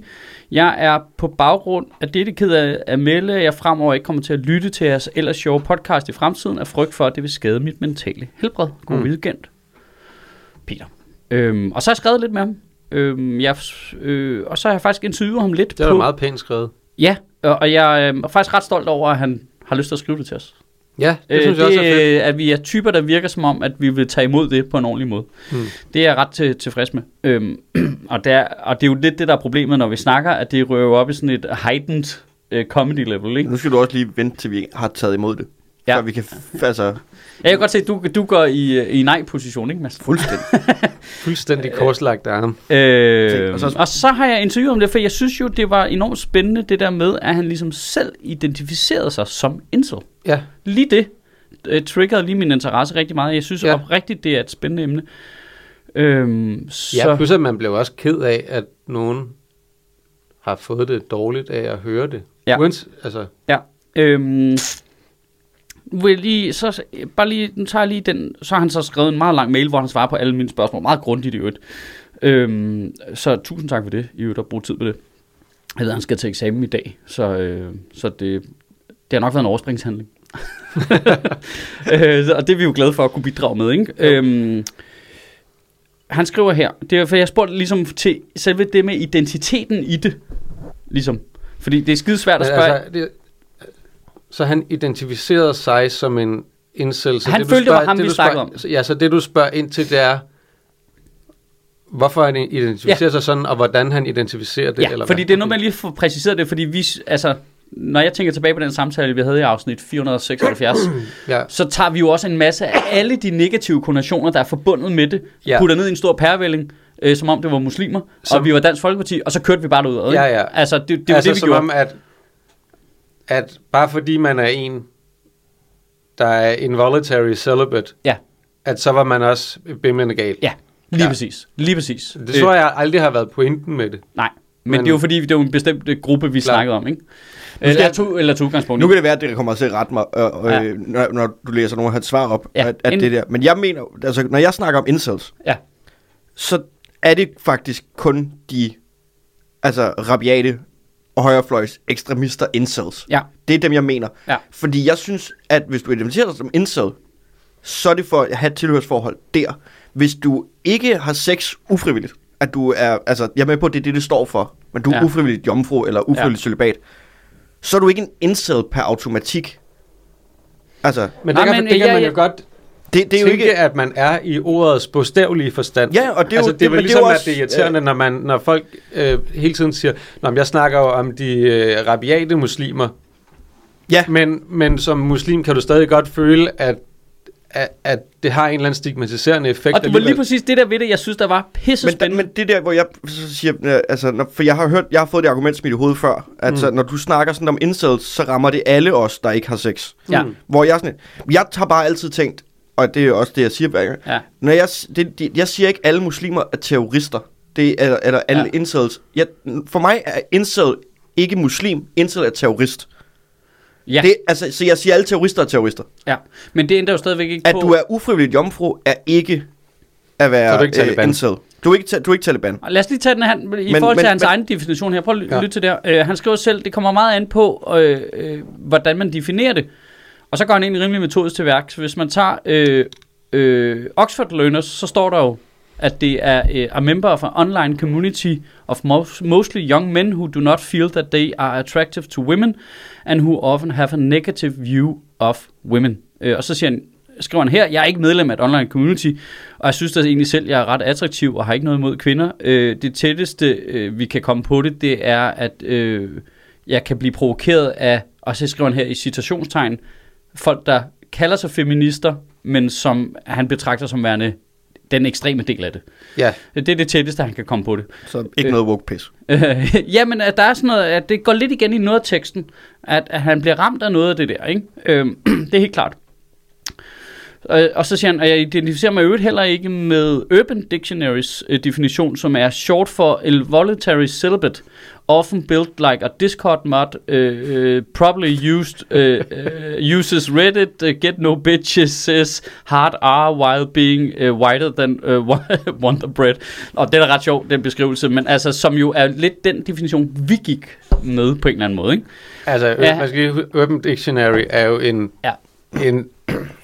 [SPEAKER 1] Jeg er på baggrund af dette ked af at melde, at jeg fremover ikke kommer til at lytte til jeres ellers sjove podcast i fremtiden, af frygt for, at det vil skade mit mentale helbred. God mm. weekend, Peter. Øhm, og så har jeg skrevet lidt med ham. Øhm, jeg, øh, og så har jeg faktisk interviewet ham lidt
[SPEAKER 2] Det var
[SPEAKER 1] på...
[SPEAKER 2] da meget pænt skrevet.
[SPEAKER 1] Ja, og, og jeg øh, er faktisk ret stolt over, at han har lyst til at skrive det til os.
[SPEAKER 2] Ja, det øh, synes
[SPEAKER 1] det,
[SPEAKER 2] jeg også er fedt.
[SPEAKER 1] at vi er typer, der virker som om, at vi vil tage imod det på en ordentlig måde.
[SPEAKER 2] Mm.
[SPEAKER 1] Mm. Det er jeg ret til, tilfreds med. Øhm, og, det er, og det er jo lidt det, der er problemet, når vi snakker, at det røver op i sådan et heightened øh, comedy level,
[SPEAKER 2] Hmm.
[SPEAKER 1] ikke?
[SPEAKER 3] Nu skal du også lige vente, til vi har taget imod det. Ja.
[SPEAKER 1] Ja.
[SPEAKER 3] Før vi kan... F- altså,
[SPEAKER 1] Jeg kan godt se, at du, du går i, øh, i nej-position, ikke Mads?
[SPEAKER 3] fuldstændig.
[SPEAKER 2] Fuldstændig korslagt arm.
[SPEAKER 1] Øh,
[SPEAKER 3] Og
[SPEAKER 1] og,
[SPEAKER 3] så-
[SPEAKER 1] så... og så har jeg interviewet om det, for jeg synes jo, det var enormt spændende, det der med, at han ligesom selv identificerede sig som incel.
[SPEAKER 2] Ja.
[SPEAKER 1] lige det øh, triggerede lige min interesse rigtig meget. Jeg synes
[SPEAKER 2] Ja.
[SPEAKER 1] ja. oprigtigt, det er et spændende emne. Øhm, så,
[SPEAKER 2] Ja,
[SPEAKER 1] ja,
[SPEAKER 2] plus at man blev også ked af, at nogen har fået det dårligt af at høre det.
[SPEAKER 1] Ja.
[SPEAKER 2] Uans, altså,
[SPEAKER 1] ja. Øhm, nu vil jeg lige, så, bare lige, nu tager jeg lige den, så har han så skrevet en meget lang mail, hvor han svarer på alle mine spørgsmål. Meget grundigt i øvrigt. Øhm, så tusind tak for det, i øvrigt, at bruge tid på det. Jeg ved, han skal til eksamen i dag, så, øh, så det, det har nok været en overspringshandling. øh, og det er vi jo glade for at kunne bidrage med, ikke? Øhm, han skriver her, det er, for jeg spurgte ligesom til selve det med identiteten i det, ligesom. Fordi det er skide svært at
[SPEAKER 2] Men
[SPEAKER 1] spørge.
[SPEAKER 2] altså, det, så han identificerede sig som en incel. Så
[SPEAKER 1] Han
[SPEAKER 2] du
[SPEAKER 1] følte, det var ham, vi
[SPEAKER 2] du
[SPEAKER 1] snakkede
[SPEAKER 2] spørger- Ja, så det du spørger ind til, det er, hvorfor han identificerer ja. sig sådan, og hvordan han identificerer det.
[SPEAKER 1] ja,
[SPEAKER 2] eller
[SPEAKER 1] fordi
[SPEAKER 2] hvad?
[SPEAKER 1] det er noget, man lige får præciseret det, fordi vi, s- altså, når jeg tænker tilbage på den samtale, vi havde i afsnit 476,
[SPEAKER 2] Ja.
[SPEAKER 1] så tager vi jo også en masse af alle de negative konnotationer, der er forbundet med det, ja.
[SPEAKER 2] Ja.
[SPEAKER 1] putter ned i en stor pærevælling, øh, som om det var muslimer, som...
[SPEAKER 2] Som-
[SPEAKER 1] og vi var Dansk Folkeparti, og så kørte vi bare derudad. ikke?
[SPEAKER 2] Ja, ja.
[SPEAKER 1] Altså, det, det
[SPEAKER 2] Det
[SPEAKER 1] var
[SPEAKER 2] er altså,
[SPEAKER 1] det, vi
[SPEAKER 2] som
[SPEAKER 1] gjorde.
[SPEAKER 2] om, at, at bare fordi man er en, der er involuntary celibate,
[SPEAKER 1] Ja.
[SPEAKER 2] at så var man også bimlende gal.
[SPEAKER 1] Ja, lige ja.
[SPEAKER 2] Ja.
[SPEAKER 1] præcis. Lige præcis. Øh,
[SPEAKER 2] Det
[SPEAKER 3] Øh.
[SPEAKER 2] tror jeg aldrig har været pointen med det.
[SPEAKER 1] Nej, men, men
[SPEAKER 2] Men-
[SPEAKER 1] det er jo fordi, det er jo en bestemt øh, gruppe, vi
[SPEAKER 2] Klar.
[SPEAKER 1] snakkede om, ikke? Øh, Eller to, eller to udgangspunkter.
[SPEAKER 3] Nu kan det være, at det kommer til at rette mig, øh, øh,
[SPEAKER 1] Ja.
[SPEAKER 3] ja. når, når du læser nogle af hans svar op,
[SPEAKER 1] Ja,
[SPEAKER 3] ja. at, at
[SPEAKER 1] ind-
[SPEAKER 3] det der. Men jeg mener, altså, når jeg snakker om incels,
[SPEAKER 1] Ja,
[SPEAKER 3] så er det faktisk kun de altså, rabiate og højrefløjs ekstremister incels.
[SPEAKER 1] ja,
[SPEAKER 3] Det er dem, jeg mener.
[SPEAKER 1] Ja.
[SPEAKER 3] Fordi jeg synes, at hvis du identificerer dig som incel, så er det for at have et tilhørsforhold der. Hvis du ikke har sex ufrivilligt, at du er, altså jeg er med på, at det er det, det står for, men du er
[SPEAKER 1] Ja.
[SPEAKER 3] ja. ufrivilligt jomfru eller ufrivilligt ja. celibat, så er du ikke en incel per automatik. Altså,
[SPEAKER 2] Men
[SPEAKER 1] Nej,
[SPEAKER 2] det, kan,
[SPEAKER 1] men,
[SPEAKER 2] men, det
[SPEAKER 1] ja,
[SPEAKER 2] kan ja, man
[SPEAKER 1] ja.
[SPEAKER 2] jo godt
[SPEAKER 3] det, det er jo
[SPEAKER 2] tænke,
[SPEAKER 3] ikke...
[SPEAKER 2] at man er i ordets bogstavelige forstand.
[SPEAKER 3] Ja, og det er jo-
[SPEAKER 2] altså,
[SPEAKER 3] det-
[SPEAKER 2] det, var
[SPEAKER 3] men det er
[SPEAKER 2] ligesom,
[SPEAKER 3] jo
[SPEAKER 2] at
[SPEAKER 3] også-
[SPEAKER 2] det er irriterende, når, man, når folk øh, hele tiden siger, Nå, men jeg snakker jo om de øh, rabiate muslimer,
[SPEAKER 3] Ja,
[SPEAKER 2] men, men som muslim kan du stadig godt føle, at, at, at det har en eller anden stigmatiserende effekt.
[SPEAKER 1] og det var
[SPEAKER 2] alligevel.
[SPEAKER 1] lige præcis det der ved det, jeg synes, der var pisse
[SPEAKER 3] men, da,
[SPEAKER 1] spændende.
[SPEAKER 3] men det der, hvor jeg så siger, øh, altså, når, for jeg har hørt, jeg har fået det argument smidt i hovedet før, at mm. så, når du snakker sådan om incels, så rammer det alle os, der ikke har sex. Mm.
[SPEAKER 1] Ja.
[SPEAKER 3] Hvor jeg er sådan, lidt- jeg har bare altid tænkt, og det er også det, jeg siger hver gang,
[SPEAKER 1] Ja.
[SPEAKER 3] når jeg, s- det, det, jeg siger ikke, alle muslimer er terrorister, det er, eller, eller alle
[SPEAKER 1] Ja.
[SPEAKER 3] ja. incels. Jeg, for mig er incel ikke muslim, incel er terrorist.
[SPEAKER 1] Ja,
[SPEAKER 3] Det, altså, så jeg siger, alle terrorister er terrorister.
[SPEAKER 1] ja. Men det ændrer jo stadigvæk ikke
[SPEAKER 3] At
[SPEAKER 1] på...
[SPEAKER 3] du er ufrivilligt jomfru, er ikke at
[SPEAKER 2] Så er
[SPEAKER 3] være
[SPEAKER 2] du ikke Taliban.
[SPEAKER 3] øh, incel. Du er ikke, ta- du er ikke Taliban.
[SPEAKER 1] Lad os lige tage den her, i men,
[SPEAKER 3] Men-
[SPEAKER 1] forhold til
[SPEAKER 3] men-
[SPEAKER 1] hans
[SPEAKER 3] men-
[SPEAKER 1] egen definition her. Prøv at ly-
[SPEAKER 2] Ja.
[SPEAKER 1] lytte til der. Øh, han skriver selv, det kommer meget an på, øh, øh, hvordan man definerer det. Og så går han egentlig rimelig metodisk til værks. Hvis man tager øh, øh, Oxford Learners, så står der jo, at det er øh, a member of an online community of most, mostly young men who do not feel that they are attractive to women and who often have a negative view of women. Øh, og så siger han, skriver han her, jeg er ikke medlem af et online community, og jeg synes da egentlig selv, jeg er ret attraktiv og har ikke noget imod kvinder. Øh, det tætteste, øh, vi kan komme på det, det er, at øh, jeg kan blive provokeret af, og så skriver han her i citationstegn, folk, der kalder sig feminister, men som han betragter som værende den ekstreme del af det.
[SPEAKER 2] Ja,
[SPEAKER 1] Det er det tætteste, han kan komme på det.
[SPEAKER 3] Så ikke
[SPEAKER 1] Øh.
[SPEAKER 3] noget woke pis.
[SPEAKER 1] Øh, jamen, at der er sådan noget, at det går lidt igen i noget af teksten, at, at han bliver ramt af noget af det der, ikke? Øh, det er helt klart. Og, og så siger han, at jeg identificerer mig i øvrigt heller ikke med Urban Dictionaries øh, definition, som er short for involuntary celibate, often built like a Discord mod, øh, øh, probably used, øh, øh, uses Reddit, øh, get no bitches, says hard R while being øh, whiter than øh, Wonder Bread. Og det er da ret sjov, den beskrivelse, men altså, som jo er lidt den definition, vi gik med på en eller anden måde, ikke?
[SPEAKER 2] altså
[SPEAKER 1] Ja.
[SPEAKER 2] ja. man skal lige, hu- Urban Dictionary er jo en,
[SPEAKER 1] Ja.
[SPEAKER 2] en,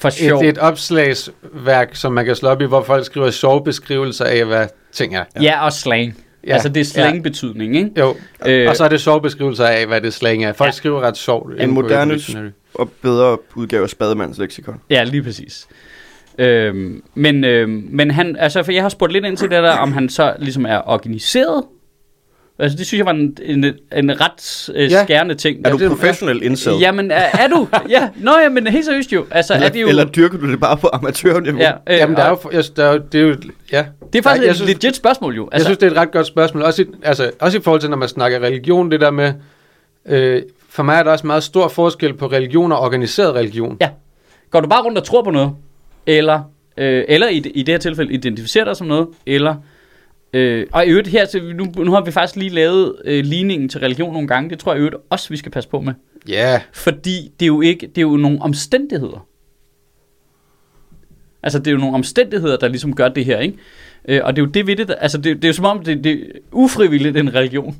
[SPEAKER 1] For sjov.
[SPEAKER 2] et, et opslagsværk, som man kan slå op i, hvor folk skriver sjove beskrivelser af, hvad ting er.
[SPEAKER 1] ja. ja, og slang. Ja.
[SPEAKER 2] Ja.
[SPEAKER 1] Altså, det er slang-betydning, ikke?
[SPEAKER 2] Jo,
[SPEAKER 1] Øh,
[SPEAKER 2] øh, og så er det sjove beskrivelser af, hvad det slang er. Folk
[SPEAKER 1] Ja.
[SPEAKER 2] ja. skriver ret sjovt.
[SPEAKER 3] En
[SPEAKER 2] inde på
[SPEAKER 3] moderne
[SPEAKER 2] Urban Dictionary.
[SPEAKER 3] og bedre udgave af Spademands leksikon.
[SPEAKER 1] Ja, lige præcis. Øhm, men, øhm, men han, altså, for jeg har spurgt lidt ind til det der, om han så ligesom er organiseret. Altså, det synes jeg var en, en, en ret øh,
[SPEAKER 2] Ja.
[SPEAKER 1] skærende ting. Altså,
[SPEAKER 3] Er du
[SPEAKER 2] det-
[SPEAKER 3] professionel incel?
[SPEAKER 1] Jamen, er, er du? Ja, nå ja, men helt seriøst jo. Altså,
[SPEAKER 3] eller,
[SPEAKER 1] er det jo...
[SPEAKER 3] eller dyrker du det bare på amatørniveau?
[SPEAKER 1] ja, øh,
[SPEAKER 2] Jamen, der er jo, jeg, der er jo, det er jo, ja.
[SPEAKER 1] det er faktisk
[SPEAKER 2] jeg
[SPEAKER 1] et
[SPEAKER 2] synes-
[SPEAKER 1] legit spørgsmål jo.
[SPEAKER 2] Altså, jeg
[SPEAKER 1] Altså,
[SPEAKER 2] synes, det er et ret godt spørgsmål. Også i, altså, også i forhold til, når man snakker religion, det der med, øh, for mig er der også meget stor forskel på religion og organiseret religion.
[SPEAKER 1] Ja. Går du bare rundt og tror på noget, eller, øh, eller i, i det her tilfælde identificerer dig som noget, eller... Øh, og i øvrigt her, så vi- nu, nu har vi faktisk lige lavet øh, ligningen til religion nogle gange. Det tror jeg i øvrigt også, vi skal passe på med.
[SPEAKER 2] Ja,
[SPEAKER 1] Fordi det er jo ikke, det er jo nogle omstændigheder. Altså, det er jo nogle omstændigheder, der ligesom gør det her, ikke? Øh, og det er jo det ved det, der- altså det, det er jo som om, det, det er ufrivilligt en religion,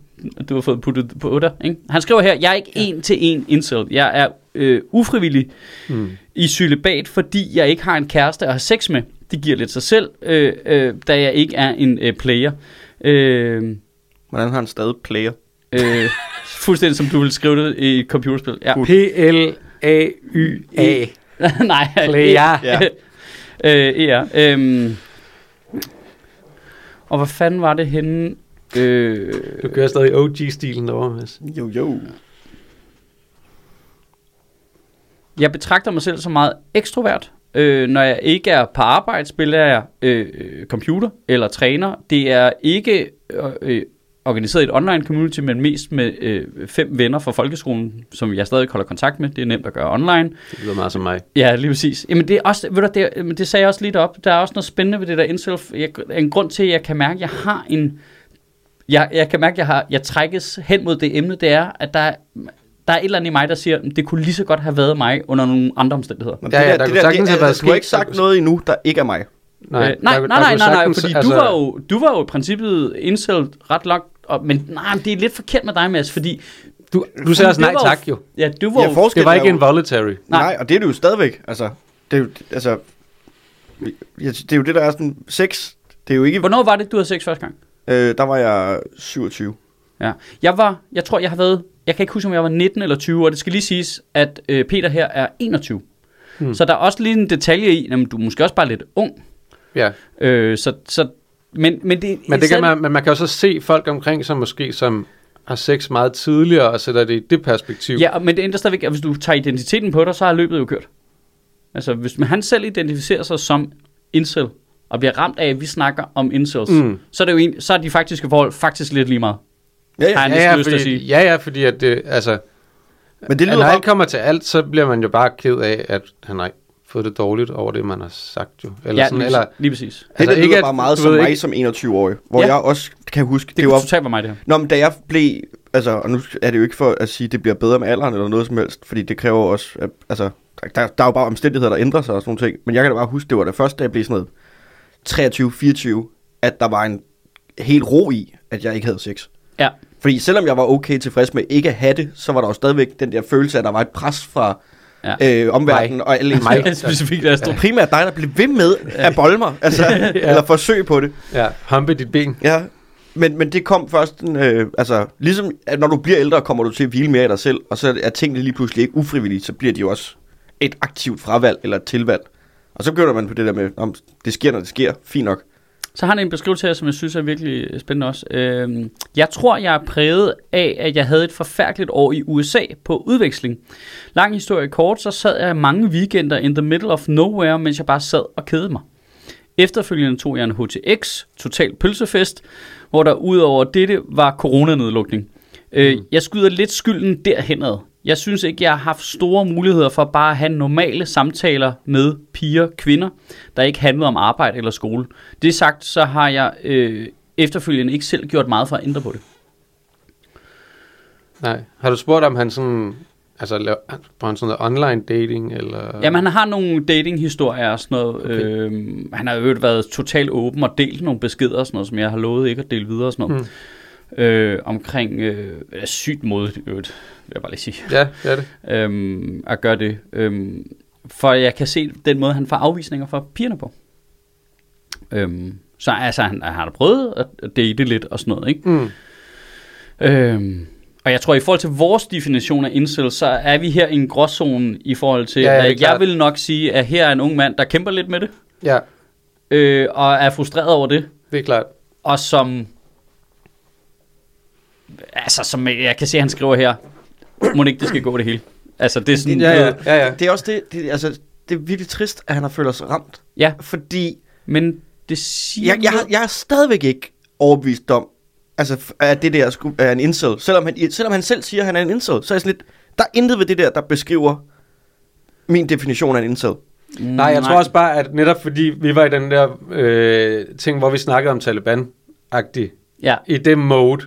[SPEAKER 1] du har fået puttet på dig, ikke? Han skriver her, jeg er ikke en til en incel, jeg er øh, ufrivillig mm. i celibat, fordi jeg ikke har en kæreste at have sex med. Det giver lidt sig selv, øh, øh, da jeg ikke er en øh, player. Øh,
[SPEAKER 3] Hvordan har han stadig player?
[SPEAKER 1] øh, fuldstændig som du ville skrive det i et computerspil. Ja.
[SPEAKER 2] P-L-A-Y-A.
[SPEAKER 1] Nej.
[SPEAKER 2] Player.
[SPEAKER 1] Ja. øh, ja. Øhm. Og hvad fanden var det henne? Øh,
[SPEAKER 2] Du kører stadig OG-stilen derovre, Mads.
[SPEAKER 3] Jo, jo.
[SPEAKER 1] jeg betragter mig selv som meget ekstrovert. Øh, når jeg ikke er på arbejde, spiller jeg øh, øh, computer eller træner. Det er ikke øh, øh, organiseret i et online community, men mest med øh, fem venner fra folkeskolen, som jeg stadig holder kontakt med. Det er nemt at gøre online.
[SPEAKER 2] Det lyder meget som mig.
[SPEAKER 1] Ja, lige præcis. Jamen det, er også, ved du, det, er- men det sagde jeg også lige op. Der er også noget spændende ved det der indself. Jeg, en grund til, at jeg kan mærke, at jeg har en... Jeg, jeg kan mærke, at jeg, har, jeg trækkes hen mod det emne, det er, at der, er- der er et eller andet i mig, der siger, at det kunne lige så godt have været mig under nogle andre omstændigheder.
[SPEAKER 3] Nå,
[SPEAKER 2] Ja, ja, der kunne
[SPEAKER 3] det,
[SPEAKER 2] sagtens have
[SPEAKER 3] altså,
[SPEAKER 2] været
[SPEAKER 3] Du har
[SPEAKER 2] sket-
[SPEAKER 3] ikke sagt noget endnu, der ikke er mig.
[SPEAKER 1] Nej, øh, nej,
[SPEAKER 2] der-
[SPEAKER 1] nej,
[SPEAKER 2] der
[SPEAKER 1] nej,
[SPEAKER 2] kunne
[SPEAKER 1] nej, nej,
[SPEAKER 2] sagtens-
[SPEAKER 1] fordi altså... du, var jo, du var jo i princippet incel ret langt, og, men nej, men det er lidt forkert med dig, Mads, fordi...
[SPEAKER 2] Du, du sagde også
[SPEAKER 1] det
[SPEAKER 2] nej
[SPEAKER 1] var
[SPEAKER 2] tak, jo.
[SPEAKER 1] Ja, du var
[SPEAKER 3] Ja,
[SPEAKER 1] jo...
[SPEAKER 3] forskellen
[SPEAKER 2] Det var
[SPEAKER 3] er
[SPEAKER 2] ikke
[SPEAKER 3] jo-
[SPEAKER 2] involuntary.
[SPEAKER 1] Nej.
[SPEAKER 3] Nej. Nej, og det er det jo stadigvæk. Altså, det er jo, altså, jeg, det er jo det, der er sådan... Sex, det er jo ikke...
[SPEAKER 1] Hvornår var det, du havde sex første gang?
[SPEAKER 3] Øh, der var jeg 27.
[SPEAKER 1] Ja. Jeg var, jeg tror, jeg har været, jeg kan ikke huske, om jeg var 19 eller 20, og det skal lige siges, at øh, Peter her er 21. Hmm. Så der er også lige en detalje i, jamen, du er måske også bare lidt ung.
[SPEAKER 2] Ja.
[SPEAKER 1] Øh, så, så, men, men, det,
[SPEAKER 2] Men, det kan
[SPEAKER 1] selv-
[SPEAKER 2] man, men man kan også se folk omkring sig måske, som har sex meget tidligere, og sætter det i det perspektiv.
[SPEAKER 1] Ja, og- men det ændrer stadigvæk, at hvis du tager identiteten på dig, så har løbet jo kørt. Altså, hvis man, han selv identificerer sig som incel, og bliver ramt af, at vi snakker om incels, mm.
[SPEAKER 2] Mm.
[SPEAKER 1] så, er det jo en, så er de faktiske forhold faktisk lidt lige meget.
[SPEAKER 3] Ja, ja.
[SPEAKER 1] Har han
[SPEAKER 2] ja,
[SPEAKER 1] næsten
[SPEAKER 2] ja,
[SPEAKER 1] lyst til at sige.
[SPEAKER 2] fordi, ja, ja, fordi at det, altså,
[SPEAKER 3] Men
[SPEAKER 2] at
[SPEAKER 3] det lyder
[SPEAKER 2] når
[SPEAKER 3] bare...
[SPEAKER 2] alt kommer til alt, så bliver man jo bare ked af, at han har fået det dårligt over det, man har sagt jo. Eller
[SPEAKER 1] ja,
[SPEAKER 2] ja, sådan,
[SPEAKER 1] lige,
[SPEAKER 2] eller,
[SPEAKER 1] lige præcis.
[SPEAKER 3] Det altså, der lyder
[SPEAKER 2] at-
[SPEAKER 3] bare meget
[SPEAKER 2] du
[SPEAKER 3] som
[SPEAKER 2] ved
[SPEAKER 3] mig
[SPEAKER 2] ikke-
[SPEAKER 3] som 21-årig, hvor
[SPEAKER 1] Ja.
[SPEAKER 3] jeg også kan huske,
[SPEAKER 1] Det,
[SPEAKER 3] det,
[SPEAKER 1] det
[SPEAKER 3] var...
[SPEAKER 1] kunne totalt være mig, det her.
[SPEAKER 3] Nå, men da jeg blev... Altså, og nu er det jo ikke for at sige, at det bliver bedre med alderen eller noget som helst, fordi det kræver også... At, altså, der, der, der er jo bare omstændigheder, der ændrer sig og sådan nogle ting. Men jeg kan da bare huske, det var det første, da jeg blev sådan noget 23-24, at der var en helt ro i, at jeg ikke havde sex.
[SPEAKER 1] Ja.
[SPEAKER 3] Fordi selvom jeg var okay tilfreds med ikke at have det, så var der jo stadigvæk den der følelse af, at der var et pres fra
[SPEAKER 1] Ja.
[SPEAKER 3] ja. øh, omverdenen og alle ens
[SPEAKER 2] Mig.
[SPEAKER 1] Ja, specifikt Astrid.
[SPEAKER 3] Det var primært dig, der blev ved med at bolde mig, altså, ja. eller forsøg på det.
[SPEAKER 2] Ja, hampe dit ben.
[SPEAKER 3] Ja. Men, men det kom først, øh, altså, ligesom at når du bliver ældre, kommer du til at hvile mere af dig selv, og så er tingene lige pludselig ikke ufrivillige, så bliver de jo også et aktivt fravalg eller et tilvalg. Og så begynder man på det der med, om det sker, når det sker, fint nok.
[SPEAKER 1] Så har han en beskrivelse her, som jeg synes er virkelig spændende også. Øhm, jeg tror, jeg er præget af, at jeg havde et forfærdeligt år i USA på udveksling. Lang historie kort, så sad jeg mange weekender in the middle of nowhere, mens jeg bare sad og kedede mig. Efterfølgende tog jeg en HTX, total pølsefest, hvor der udover dette var coronanedlukning. Øh, jeg skyder lidt skylden derhenad. Jeg synes ikke, jeg har haft store muligheder for bare at have normale samtaler med piger, kvinder, der ikke handlede om arbejde eller skole. Det sagt, så har jeg øh, efterfølgende ikke selv gjort meget for at ændre på det.
[SPEAKER 2] Nej. Har du spurgt, om han sådan... Altså, laver, bruger han sådan noget online dating, eller...
[SPEAKER 1] Jamen, han har nogle datinghistorier og sådan noget. Okay.
[SPEAKER 2] Okay.
[SPEAKER 1] Øhm, han har jo været totalt åben og delt nogle beskeder og sådan noget, som jeg har lovet ikke at dele videre og sådan noget. Mm. Øh, omkring øh, er sygt modigt, i øvrigt, vil jeg bare lige sige,
[SPEAKER 2] Ja, det er det.
[SPEAKER 1] øhm, at gøre det. Øhm, for jeg kan se den måde, han får afvisninger fra pigerne på. Øhm, så altså, han, han har da prøvet at- at date lidt og sådan noget, ikke?
[SPEAKER 2] Mm.
[SPEAKER 1] Øhm, og jeg tror, i forhold til vores definition af incel, så er vi her i en gråzone i forhold til,
[SPEAKER 2] Ja, ja,
[SPEAKER 1] ja,
[SPEAKER 2] det er
[SPEAKER 1] at jeg
[SPEAKER 2] klart.
[SPEAKER 1] vil nok sige, at her er en ung mand, der kæmper lidt med det,
[SPEAKER 2] Ja,
[SPEAKER 1] øh, og er frustreret over det,
[SPEAKER 2] det er klart.
[SPEAKER 1] og som, altså som jeg kan se, han skriver her, må det ikke det skal gå det hele. Altså det er sådan,
[SPEAKER 2] Ja, ja, ja. ja.
[SPEAKER 3] Det er også det, det, altså, det er virkelig trist, at han har følt sig ramt.
[SPEAKER 1] ja
[SPEAKER 3] Fordi
[SPEAKER 1] men det siger...
[SPEAKER 3] Jeg, jeg, har- jeg er stadigvæk ikke overbevist om, altså, f- at det der sku- er en incel. Selvom han, selvom han selv siger, at han er en incel, så er jeg sådan lidt, der er intet ved det der, der beskriver min definition af en incel.
[SPEAKER 2] Mm, Nej,
[SPEAKER 1] Mm,
[SPEAKER 2] jeg tror også bare, at netop fordi vi var i den der øh, ting, hvor vi snakkede om Taliban-agtigt,
[SPEAKER 1] Ja,
[SPEAKER 2] i det mode,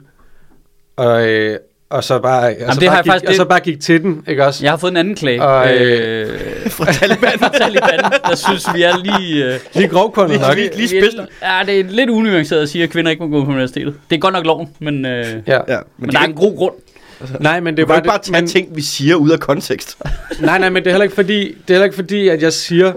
[SPEAKER 2] og, øh, og så bare, og så
[SPEAKER 1] det har
[SPEAKER 2] bare
[SPEAKER 1] jeg
[SPEAKER 2] gik,
[SPEAKER 1] faktisk-
[SPEAKER 2] og så
[SPEAKER 1] det-
[SPEAKER 2] bare gik til den, ikke også?
[SPEAKER 1] jeg har fået en anden klage.
[SPEAKER 2] Og,
[SPEAKER 1] øh, fra Taliban. fra Taliban, der synes vi er lige... Øh,
[SPEAKER 2] Lige grovkundet nok.
[SPEAKER 3] lige-
[SPEAKER 1] Vi er-
[SPEAKER 3] spidsen.
[SPEAKER 1] Ja, det er lidt unuanceret at sige, at kvinder ikke må gå på universitetet. Det er godt nok loven, men, øh, ja.
[SPEAKER 2] Ja.
[SPEAKER 3] Ja,
[SPEAKER 1] men der er en god grund.
[SPEAKER 2] Nej, men det
[SPEAKER 3] Det
[SPEAKER 2] er
[SPEAKER 3] var
[SPEAKER 2] bare,
[SPEAKER 3] ikke bare
[SPEAKER 2] det-
[SPEAKER 3] tage
[SPEAKER 2] men-
[SPEAKER 3] ting, vi siger ud af kontekst.
[SPEAKER 2] Nej, nej, men det er heller ikke fordi, det er heller ikke fordi at jeg siger,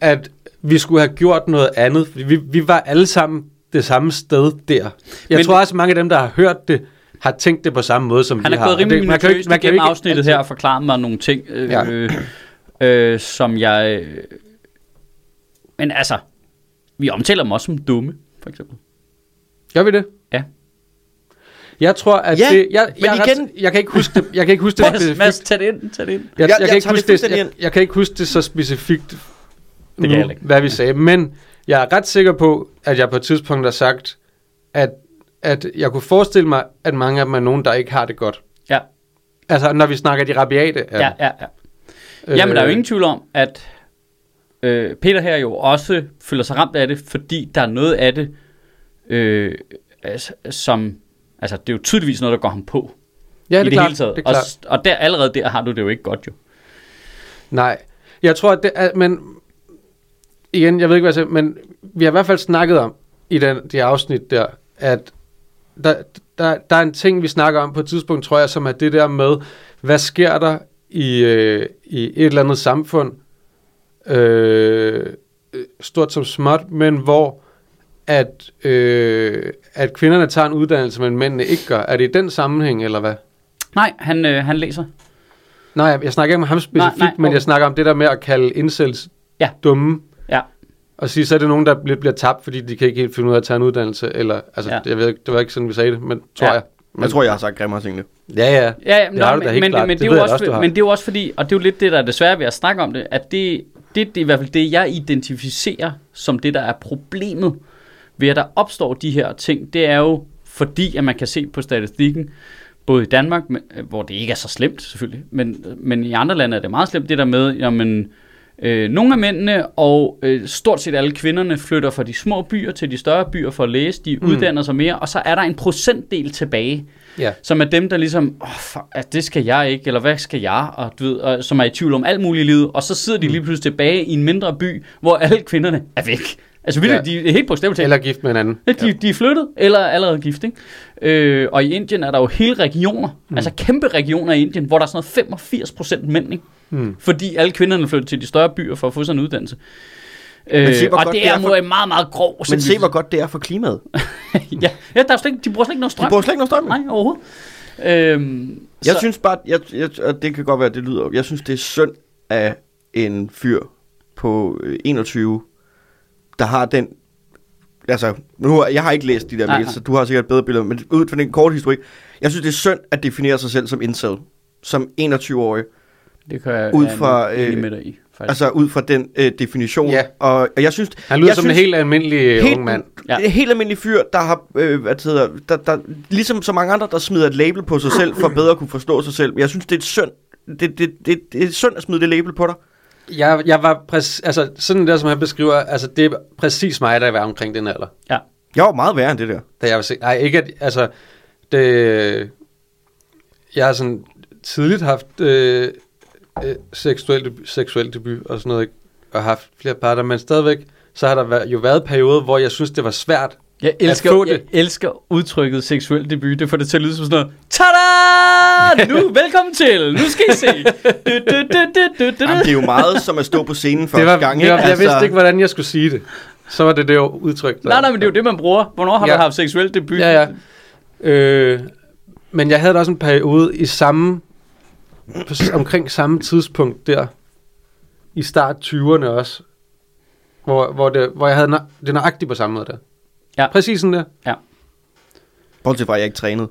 [SPEAKER 2] at vi skulle have gjort noget andet. Fordi Vi, vi var alle sammen det samme sted der. Jeg
[SPEAKER 1] Men-
[SPEAKER 2] men, tror også, mange af dem, der har hørt det, har tænkt det på samme måde, som
[SPEAKER 1] Han
[SPEAKER 2] vi
[SPEAKER 1] er
[SPEAKER 2] har.
[SPEAKER 1] gået
[SPEAKER 2] Og det-
[SPEAKER 1] rimelig
[SPEAKER 2] man kan jo
[SPEAKER 1] minutiøst
[SPEAKER 2] ikke- man kan jo
[SPEAKER 1] igennem
[SPEAKER 2] ikke
[SPEAKER 1] afsnittet her og forklaret mig nogle ting, øh,
[SPEAKER 2] Ja.
[SPEAKER 1] ja. øh, som jeg... Øh, men altså, vi omtaler dem også som dumme, for eksempel.
[SPEAKER 2] Gør vi det?
[SPEAKER 1] Ja.
[SPEAKER 2] Jeg tror, at
[SPEAKER 3] Ja,
[SPEAKER 2] det... Jeg,
[SPEAKER 3] men
[SPEAKER 2] jeg, er
[SPEAKER 3] igen-
[SPEAKER 2] Ret, jeg kan ikke huske det, jeg kan ikke huske det
[SPEAKER 1] Mads,
[SPEAKER 2] specifikt.
[SPEAKER 1] Mads, tag det ind, tag det ind.
[SPEAKER 2] Jeg, jeg,
[SPEAKER 3] Jeg-
[SPEAKER 2] jeg,
[SPEAKER 3] jeg
[SPEAKER 2] kan ikke
[SPEAKER 3] tager det
[SPEAKER 2] huske det,
[SPEAKER 3] fuldstændig
[SPEAKER 2] jeg, jeg kan ikke huske det så specifikt, det
[SPEAKER 1] kan jeg heller ikke.
[SPEAKER 2] hvad vi sagde. Men jeg er ret sikker på, at jeg på et tidspunkt har sagt, at, at jeg kunne forestille mig, at mange af dem er nogen, der ikke har det godt.
[SPEAKER 1] Ja,
[SPEAKER 2] Altså, når vi snakker de rabiate. af
[SPEAKER 1] ja,
[SPEAKER 2] dem.
[SPEAKER 1] ja. ja. Øh, Jamen, der er jo ingen tvivl om, at øh, Peter her jo også føler sig ramt af det, fordi der er noget af det, øh, altså, som... Altså, det er jo tydeligvis noget, der går ham på
[SPEAKER 2] ja,
[SPEAKER 1] ja,
[SPEAKER 2] det er
[SPEAKER 1] i det
[SPEAKER 2] klart,
[SPEAKER 1] hele taget.
[SPEAKER 2] Det er klart. Også...
[SPEAKER 1] Og, og der, allerede der har du det jo ikke godt, jo.
[SPEAKER 2] Nej. Jeg tror, at det er, men igen, jeg ved ikke, hvad jeg sagde, men vi har i hvert fald snakket om i den, de afsnit der, at der, der, der er en ting, vi snakker om på et tidspunkt, tror jeg, som er det der med, hvad sker der i, øh, i et eller andet samfund, øh, øh, stort som småt, men hvor at, øh, at kvinderne tager en uddannelse, men mændene ikke gør. Er det i den sammenhæng, eller hvad?
[SPEAKER 1] Nej, han, øh, han læser.
[SPEAKER 2] Nej, jeg, jeg snakker ikke om ham specifikt,
[SPEAKER 1] nej,
[SPEAKER 2] nej, nej, men
[SPEAKER 1] okay.
[SPEAKER 2] jeg snakker om det der med at kalde incels
[SPEAKER 1] Ja.
[SPEAKER 2] dumme.
[SPEAKER 1] Ja.
[SPEAKER 2] Og sige, så er det nogen, der lidt bliver tabt, fordi de kan ikke helt finde ud af at tage en uddannelse. Eller, altså,
[SPEAKER 1] Ja.
[SPEAKER 2] ja. jeg ved, ikke- det var ikke sådan, vi sagde det, men
[SPEAKER 1] Ja.
[SPEAKER 2] tror ja. jeg. Men,
[SPEAKER 3] Jeg tror, jeg har sagt grimmere ting nu.
[SPEAKER 2] Ja, ja.
[SPEAKER 1] Ja, ja,
[SPEAKER 2] Det har
[SPEAKER 1] nå,
[SPEAKER 2] du da
[SPEAKER 1] men,
[SPEAKER 2] helt
[SPEAKER 1] men,
[SPEAKER 2] klart.
[SPEAKER 1] men, det
[SPEAKER 2] Det
[SPEAKER 1] er jo
[SPEAKER 2] ved jeg
[SPEAKER 1] også,
[SPEAKER 2] også, du har.
[SPEAKER 1] men det er jo også fordi, og det er jo lidt det, der er desværre ved at snakke om det, at det, det, det er i hvert fald det, jeg identificerer som det, der er problemet ved, at der opstår de her ting. Det er jo fordi, at man kan se på statistikken, både i Danmark, men- øh, hvor det ikke er så slemt selvfølgelig, men, men i andre lande er det meget slemt, det der med, jamen, øh, nogle af mændene og øh, stort set alle kvinderne flytter fra de små byer til de større byer for at læse, de mm. uddanner sig mere, og så er der en procentdel tilbage,
[SPEAKER 2] Ja.
[SPEAKER 1] som er dem, der ligesom, oh, for, at det skal jeg ikke, eller hvad skal jeg, og, du ved, og, som er i tvivl om alt muligt i livet, og så sidder
[SPEAKER 3] Mm.
[SPEAKER 1] de lige pludselig tilbage i en mindre by, hvor alle kvinderne er væk. Altså, ja.
[SPEAKER 2] Ja.
[SPEAKER 1] de er helt bogstaveligt talt
[SPEAKER 2] Eller gift med hinanden.
[SPEAKER 1] Ja, De, de er flyttet, eller er allerede gift, ikke? Øh, og i Indien er der jo hele regioner, mm. altså kæmpe regioner i Indien, hvor der er sådan noget 85 procent mænd, ikke? Mm. Fordi alle kvinderne flytter til de større byer for at få sådan en uddannelse. Øh,
[SPEAKER 3] se, hvor
[SPEAKER 1] og
[SPEAKER 3] godt
[SPEAKER 1] det
[SPEAKER 3] det
[SPEAKER 1] er
[SPEAKER 3] er for-
[SPEAKER 1] mod en meget, meget grov...
[SPEAKER 3] Men se,
[SPEAKER 1] civilisation.
[SPEAKER 3] hvor godt det er for klimaet.
[SPEAKER 1] ja, ja, der er slet ikke, de bruger slet ikke noget
[SPEAKER 3] De
[SPEAKER 1] strøm.
[SPEAKER 3] bruger slet ikke noget strøm.
[SPEAKER 1] Nej, overhovedet. Øhm,
[SPEAKER 3] Jeg
[SPEAKER 1] så-
[SPEAKER 3] synes bare, jeg, jeg, og det kan godt være, at det lyder... Jeg synes, det er synd af en fyr på øh, 21, der har den... Altså, nu, har- jeg har ikke læst de der
[SPEAKER 1] Nej,
[SPEAKER 3] mails,
[SPEAKER 1] nej.
[SPEAKER 3] så du har sikkert et bedre billede, men ud fra den korte historik, jeg synes, det er synd at definere sig selv som incel, som 21-årig.
[SPEAKER 1] Det kan jeg
[SPEAKER 3] Ud
[SPEAKER 1] er
[SPEAKER 3] fra,
[SPEAKER 1] enig
[SPEAKER 3] øh,
[SPEAKER 1] med dig i, faktisk.
[SPEAKER 3] Altså, ud fra den øh, definition.
[SPEAKER 2] Ja.
[SPEAKER 3] Og, og jeg synes...
[SPEAKER 2] Han lyder
[SPEAKER 3] jeg
[SPEAKER 2] som
[SPEAKER 3] synes,
[SPEAKER 2] en helt almindelig helt... ung mand.
[SPEAKER 1] Ja.
[SPEAKER 3] Ja. En helt almindelig fyr, der har, øh, hvad det hedder, der, der, ligesom så mange andre, der smider et label på sig selv, for bedre at kunne forstå sig selv. Jeg synes, det er et synd. Det, det, det, det er synd at smide det label på dig.
[SPEAKER 2] Jeg, jeg var præcis, altså, sådan der, som han beskriver, altså, det er præcis mig, der var omkring den alder.
[SPEAKER 1] ja.
[SPEAKER 3] Jeg var meget værre end det der.
[SPEAKER 2] Da jeg var se, nej, ikke at, altså, det, jeg har sådan tidligt haft øh, øh, seksuel, debut, seksuel debut og sådan noget, ikke? og haft flere parter, men stadigvæk, så har der væ- jo været perioder, hvor jeg synes, det var svært.
[SPEAKER 1] Jeg
[SPEAKER 2] elsker-
[SPEAKER 1] elsker, jeg
[SPEAKER 2] jeg
[SPEAKER 1] elsker udtrykket seksuel debut. Det får det til at lyde som sådan noget. Tada! Nu, velkommen til. Nu skal I se. Du, du, du, du, du, du,
[SPEAKER 3] Jamen, det
[SPEAKER 1] du.
[SPEAKER 3] er jo meget som at stå på scenen
[SPEAKER 2] Det
[SPEAKER 3] første
[SPEAKER 2] var,
[SPEAKER 3] gang. Altså-
[SPEAKER 2] det var, jeg vidste ikke, hvordan jeg skulle sige det. Så var det det jo udtryk. der-
[SPEAKER 1] Nej, nej, men det er jo det, man bruger. Hvornår har ja.
[SPEAKER 2] Ja.
[SPEAKER 1] du haft seksuel debut?
[SPEAKER 2] Ja, ja. Øh, men jeg havde da også en periode i samme, på, s- omkring samme tidspunkt der, i start 20'erne også, hvor, hvor, det, hvor jeg havde nø- det nøjagtigt på samme måde der.
[SPEAKER 1] Ja.
[SPEAKER 2] Præcis sådan der.
[SPEAKER 3] Bortset fra, at jeg ikke trænede.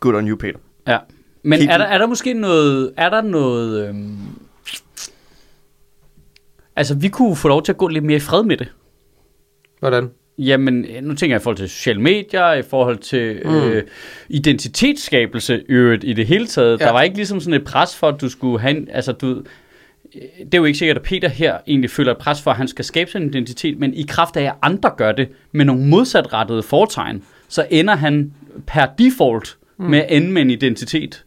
[SPEAKER 3] Good on you, Peter.
[SPEAKER 1] ja. Men
[SPEAKER 3] Helt
[SPEAKER 1] er der, er der måske noget... Er der noget øhm... Altså, vi kunne få lov til at gå lidt mere i fred med det.
[SPEAKER 2] Hvordan?
[SPEAKER 1] Jamen, nu tænker jeg i forhold til sociale medier, i forhold til mm. øh, identitetsskabelse i øvrigt i det hele taget. Ja.
[SPEAKER 2] Ja.
[SPEAKER 1] Der var ikke ligesom sådan et pres for, at du skulle have en, altså du, ved, øh, det er jo ikke sikkert, at Peter her egentlig føler et pres for, at han skal skabe sin identitet, men i kraft af, at andre gør det med nogle modsatrettede foretegn, så ender han per default mm. med at ende med en identitet mm.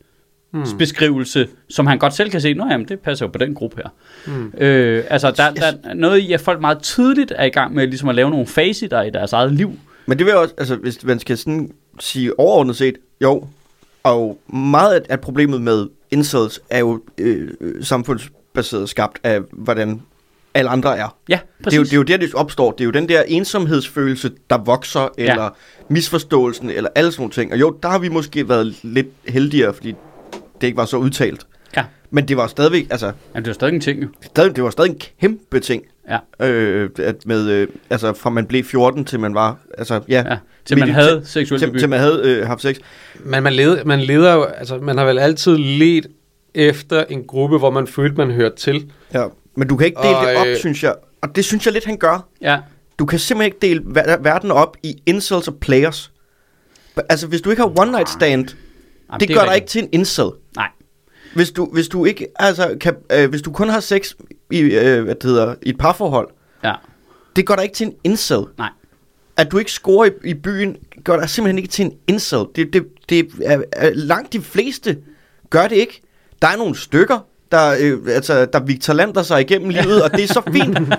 [SPEAKER 3] Hmm.
[SPEAKER 1] beskrivelse, som han godt selv kan se, nå jamen, det passer jo på den gruppe her.
[SPEAKER 3] Hmm.
[SPEAKER 1] Mm. Øh, altså, der, der er noget i, at folk meget tidligt er i gang med ligesom at lave nogle faceter i deres eget liv.
[SPEAKER 3] Men det vil jeg også, altså hvis man skal sådan sige overordnet set, jo, Og meget af- af problemet med incels er jo øh, øh, samfundsbaseret skabt af, hvordan alle andre er.
[SPEAKER 1] Ja,
[SPEAKER 3] Det er, jo, det
[SPEAKER 1] præcis.
[SPEAKER 3] er jo der, det opstår. Det er jo den der ensomhedsfølelse, der vokser,
[SPEAKER 1] Ja.
[SPEAKER 3] eller misforståelsen, eller alle sådan nogle ting. Og jo, der har vi måske været lidt heldigere, fordi det ikke var så udtalt.
[SPEAKER 1] Ja.
[SPEAKER 3] Men det var stadigvæk, altså,
[SPEAKER 1] Jamen, det er stadig en ting, jo.
[SPEAKER 3] stadig, det var stadig en kæmpe ting.
[SPEAKER 1] Ja.
[SPEAKER 3] Øh, at med, øh, altså, fra man blev 14 til man var, altså, ja.
[SPEAKER 1] Ja, til man
[SPEAKER 3] midt i-
[SPEAKER 1] havde seksuel
[SPEAKER 3] til,
[SPEAKER 1] debut.
[SPEAKER 3] til man havde øh, haft sex.
[SPEAKER 2] Men man, led, man leder jo, altså man har vel altid let efter en gruppe, hvor man følte, man hørte til.
[SPEAKER 3] Ja. Men du kan ikke dele
[SPEAKER 2] Og,
[SPEAKER 3] det op,
[SPEAKER 2] øh,
[SPEAKER 3] synes jeg. Og det synes jeg lidt, han gør.
[SPEAKER 1] Ja,
[SPEAKER 3] Du kan simpelthen ikke dele ver- verden op i incels og players. Altså, hvis du ikke har one night stand,
[SPEAKER 1] Jamen,
[SPEAKER 3] det,
[SPEAKER 1] er
[SPEAKER 3] det gør dig
[SPEAKER 1] rigtigt.
[SPEAKER 3] ikke til en incel.
[SPEAKER 1] Nej,
[SPEAKER 3] Hvis du, hvis du ikke, altså, kan, øh, hvis du kun har sex i, øh, hvad det hedder, i et parforhold,
[SPEAKER 1] ja,
[SPEAKER 3] det gør dig ikke til en incel.
[SPEAKER 1] nej.
[SPEAKER 3] At du ikke scorer i, i byen, gør dig simpelthen ikke til en incel. Det, det, det er, er, langt de fleste gør det ikke. Der er nogle stykker, der, øh, altså, der Victor Lander sig igennem livet, og det er så fint. Det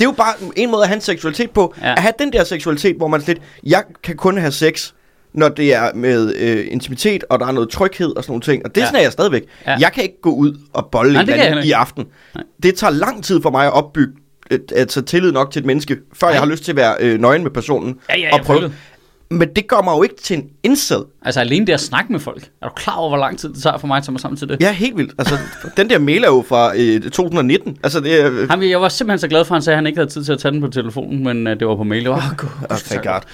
[SPEAKER 3] er jo bare en måde at have en seksualitet på.
[SPEAKER 1] Ja.
[SPEAKER 3] Ja. At have den der seksualitet, hvor man lidt, jeg kan kun have sex, når det er med øh, intimitet, og der er noget tryghed og sådan nogle ting. Og det
[SPEAKER 1] Ja.
[SPEAKER 3] ja. sådan er jeg stadigvæk.
[SPEAKER 1] Ja.
[SPEAKER 3] Ja. Jeg kan ikke gå ud og bolle
[SPEAKER 1] Nej,
[SPEAKER 3] Nej,
[SPEAKER 1] det kan jeg heller
[SPEAKER 3] i
[SPEAKER 1] ikke.
[SPEAKER 3] aften.
[SPEAKER 1] Nej.
[SPEAKER 3] Nej. Det tager lang tid for mig at opbygge et, altså tillid nok til et menneske, før
[SPEAKER 1] Nej.
[SPEAKER 3] Nej. jeg har lyst til at være øh, nøgen med personen
[SPEAKER 1] Ja, ja,
[SPEAKER 3] og
[SPEAKER 1] jeg
[SPEAKER 3] prøve.
[SPEAKER 1] følger.
[SPEAKER 3] Men det gør mig jo ikke til en incel.
[SPEAKER 1] Altså alene det at snakke med folk. Er du klar over, hvor lang tid det tager for mig at tage mig sammen til det?
[SPEAKER 3] Ja, helt vildt. Altså, den der mail er jo fra øh, 2019. Altså, det er... Øh,
[SPEAKER 1] Ham, jeg var simpelthen så glad for, at han sagde, at han ikke havde tid til at tage den på telefonen, men øh, det var på mail. Det var, oh, God,
[SPEAKER 3] oh, thank God.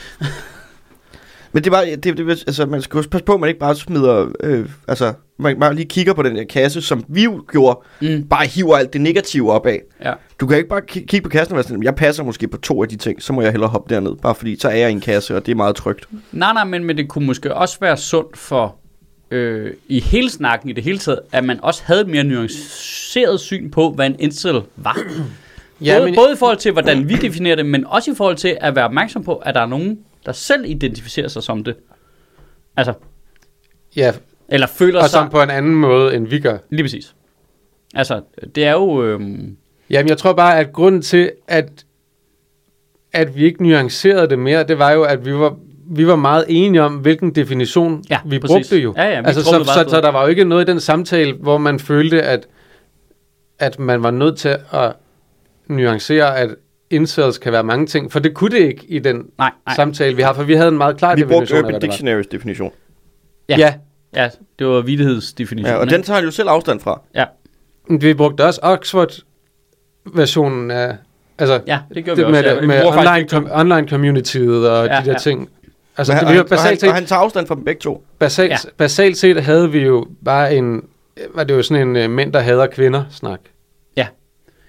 [SPEAKER 3] Men det var, det, det, altså, man skal også passe på, at man ikke bare smider, øh, altså, man bare lige kigger på den der kasse, som vi jo gjorde,
[SPEAKER 1] Mm.
[SPEAKER 3] mm. bare hiver alt det negative op af.
[SPEAKER 1] Ja.
[SPEAKER 3] Du kan ikke bare ki- kigge på kassen og være sådan, jeg passer måske på to af de ting, så må jeg hellere hoppe derned, bare fordi så er jeg i en kasse, og det er meget trygt.
[SPEAKER 1] Nej, nej, men, men det kunne måske også være sundt for øh, i hele snakken, i det hele taget, at man også havde et mere nuanceret syn på, hvad en incel var. Ja, både, men... både i forhold til, hvordan vi definerer det, men også i forhold til at være opmærksom på, at der er nogen, der selv identificerer sig som det. Altså,
[SPEAKER 2] ja,
[SPEAKER 1] eller føler
[SPEAKER 2] og
[SPEAKER 1] sig...
[SPEAKER 2] som på en anden måde, end vi gør.
[SPEAKER 1] Lige præcis. Altså, det er jo... Øhm,
[SPEAKER 2] Jamen, jeg tror bare, at grunden til, at, at vi ikke nuancerede det mere, det var jo, at vi var, vi var meget enige om, hvilken definition
[SPEAKER 1] Ja,
[SPEAKER 2] vi
[SPEAKER 1] præcis.
[SPEAKER 2] brugte jo.
[SPEAKER 1] Ja, ja, vi
[SPEAKER 2] altså,
[SPEAKER 1] trummede
[SPEAKER 2] så,
[SPEAKER 1] bare
[SPEAKER 2] så,
[SPEAKER 1] afsted.
[SPEAKER 2] så der var jo ikke noget i den samtale, hvor man følte, at, at man var nødt til at nuancere, at indsats kan være mange ting, for det kunne det ikke i den
[SPEAKER 1] nej, nej.
[SPEAKER 2] samtale, vi har, for vi havde en meget klar
[SPEAKER 3] Vi brugte
[SPEAKER 2] definition af,
[SPEAKER 3] Urban
[SPEAKER 2] hvad det var.
[SPEAKER 3] Dictionary's definition.
[SPEAKER 1] Ja.
[SPEAKER 2] Ja,
[SPEAKER 1] Ja, det var vidtighedsdefinitionen.
[SPEAKER 3] Ja, og
[SPEAKER 1] ikke?
[SPEAKER 3] den tager han jo selv afstand fra.
[SPEAKER 1] Ja,
[SPEAKER 2] vi brugte også Oxford-versionen af, altså,
[SPEAKER 1] ja, det gjorde
[SPEAKER 2] det
[SPEAKER 1] vi også.
[SPEAKER 2] med,
[SPEAKER 1] ja.
[SPEAKER 2] det,
[SPEAKER 1] Vi
[SPEAKER 2] med
[SPEAKER 1] bruger faktisk
[SPEAKER 2] online,
[SPEAKER 1] ikke-
[SPEAKER 2] com- online communityet og
[SPEAKER 1] Ja,
[SPEAKER 2] ja, de der
[SPEAKER 1] ja.
[SPEAKER 2] ja. ting. Altså,
[SPEAKER 3] Men
[SPEAKER 2] det,
[SPEAKER 3] han,
[SPEAKER 2] vi jo
[SPEAKER 3] og, han,
[SPEAKER 2] basalt, set,
[SPEAKER 3] og han tager afstand fra dem begge to.
[SPEAKER 2] basalt,
[SPEAKER 1] Ja.
[SPEAKER 2] basalt set havde vi jo bare en, var det jo sådan en øh, mænd, der hader kvinder snak.
[SPEAKER 1] Ja.
[SPEAKER 2] Er det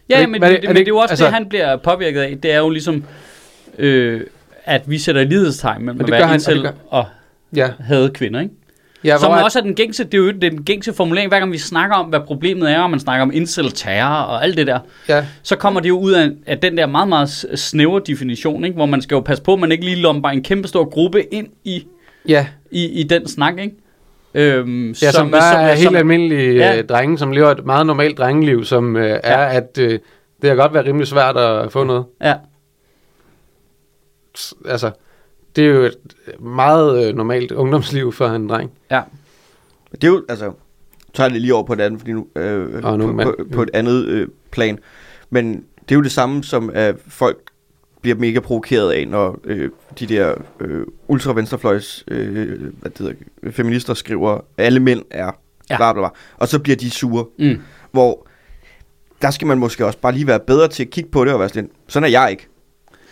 [SPEAKER 1] Ja,
[SPEAKER 2] ikke-
[SPEAKER 1] men,
[SPEAKER 2] hvad er
[SPEAKER 1] det,
[SPEAKER 2] det-
[SPEAKER 1] det,
[SPEAKER 2] er
[SPEAKER 1] men
[SPEAKER 2] det
[SPEAKER 1] det er jo også altså,
[SPEAKER 2] altså-
[SPEAKER 1] det, han bliver påvirket af. Det er jo ligesom, øh, at vi sætter lighedstegn mellem
[SPEAKER 2] Og
[SPEAKER 1] at
[SPEAKER 2] det gør
[SPEAKER 1] være
[SPEAKER 2] han, og
[SPEAKER 1] incel
[SPEAKER 2] det
[SPEAKER 1] og,
[SPEAKER 2] gør-
[SPEAKER 1] og
[SPEAKER 2] Ja,
[SPEAKER 1] hade kvinder, ikke?
[SPEAKER 2] ja
[SPEAKER 1] Ja, Som
[SPEAKER 2] hvor, at-
[SPEAKER 1] også er den gængse, det er jo det er den gængse formulering, hver gang vi snakker om, hvad problemet er, og man snakker om incel, terror og alt det der,
[SPEAKER 2] ja,
[SPEAKER 1] så kommer det jo ud af, af den der meget, meget s- snævre definition, ikke? hvor man skal jo passe på, at man ikke lige lomper en kæmpe stor gruppe ind i,
[SPEAKER 2] ja,
[SPEAKER 1] i, i den snak, ikke? Øhm, ja,
[SPEAKER 2] ja, som, som bare som, er helt som, almindelige
[SPEAKER 1] Ja.
[SPEAKER 2] ja. drenge, som lever et meget normalt drengeliv, som øh, er,
[SPEAKER 1] Ja.
[SPEAKER 2] at øh, det har godt været rimelig svært at få noget.
[SPEAKER 1] Ja,
[SPEAKER 2] S- Altså, det er jo et meget øh, normalt ungdomsliv for en dreng.
[SPEAKER 1] ja.
[SPEAKER 3] Det er jo, altså, nu tager jeg det lige over på et andet, fordi nu, øh,
[SPEAKER 2] Og en ung
[SPEAKER 3] på,
[SPEAKER 2] mand.
[SPEAKER 3] på, på et andet øh, plan. Men det er jo det samme, som at folk bliver mega provokeret af, når øh, de der øh, ultravenstrefløjs øh, hvad det hedder, feminister skriver, alle mænd er
[SPEAKER 1] Ja.
[SPEAKER 3] ja. bla, bla, bla, og så bliver de sure.
[SPEAKER 1] Mm.
[SPEAKER 3] Hvor der skal man måske også bare lige være bedre til at kigge på det og være sådan, lidt, sådan er jeg ikke.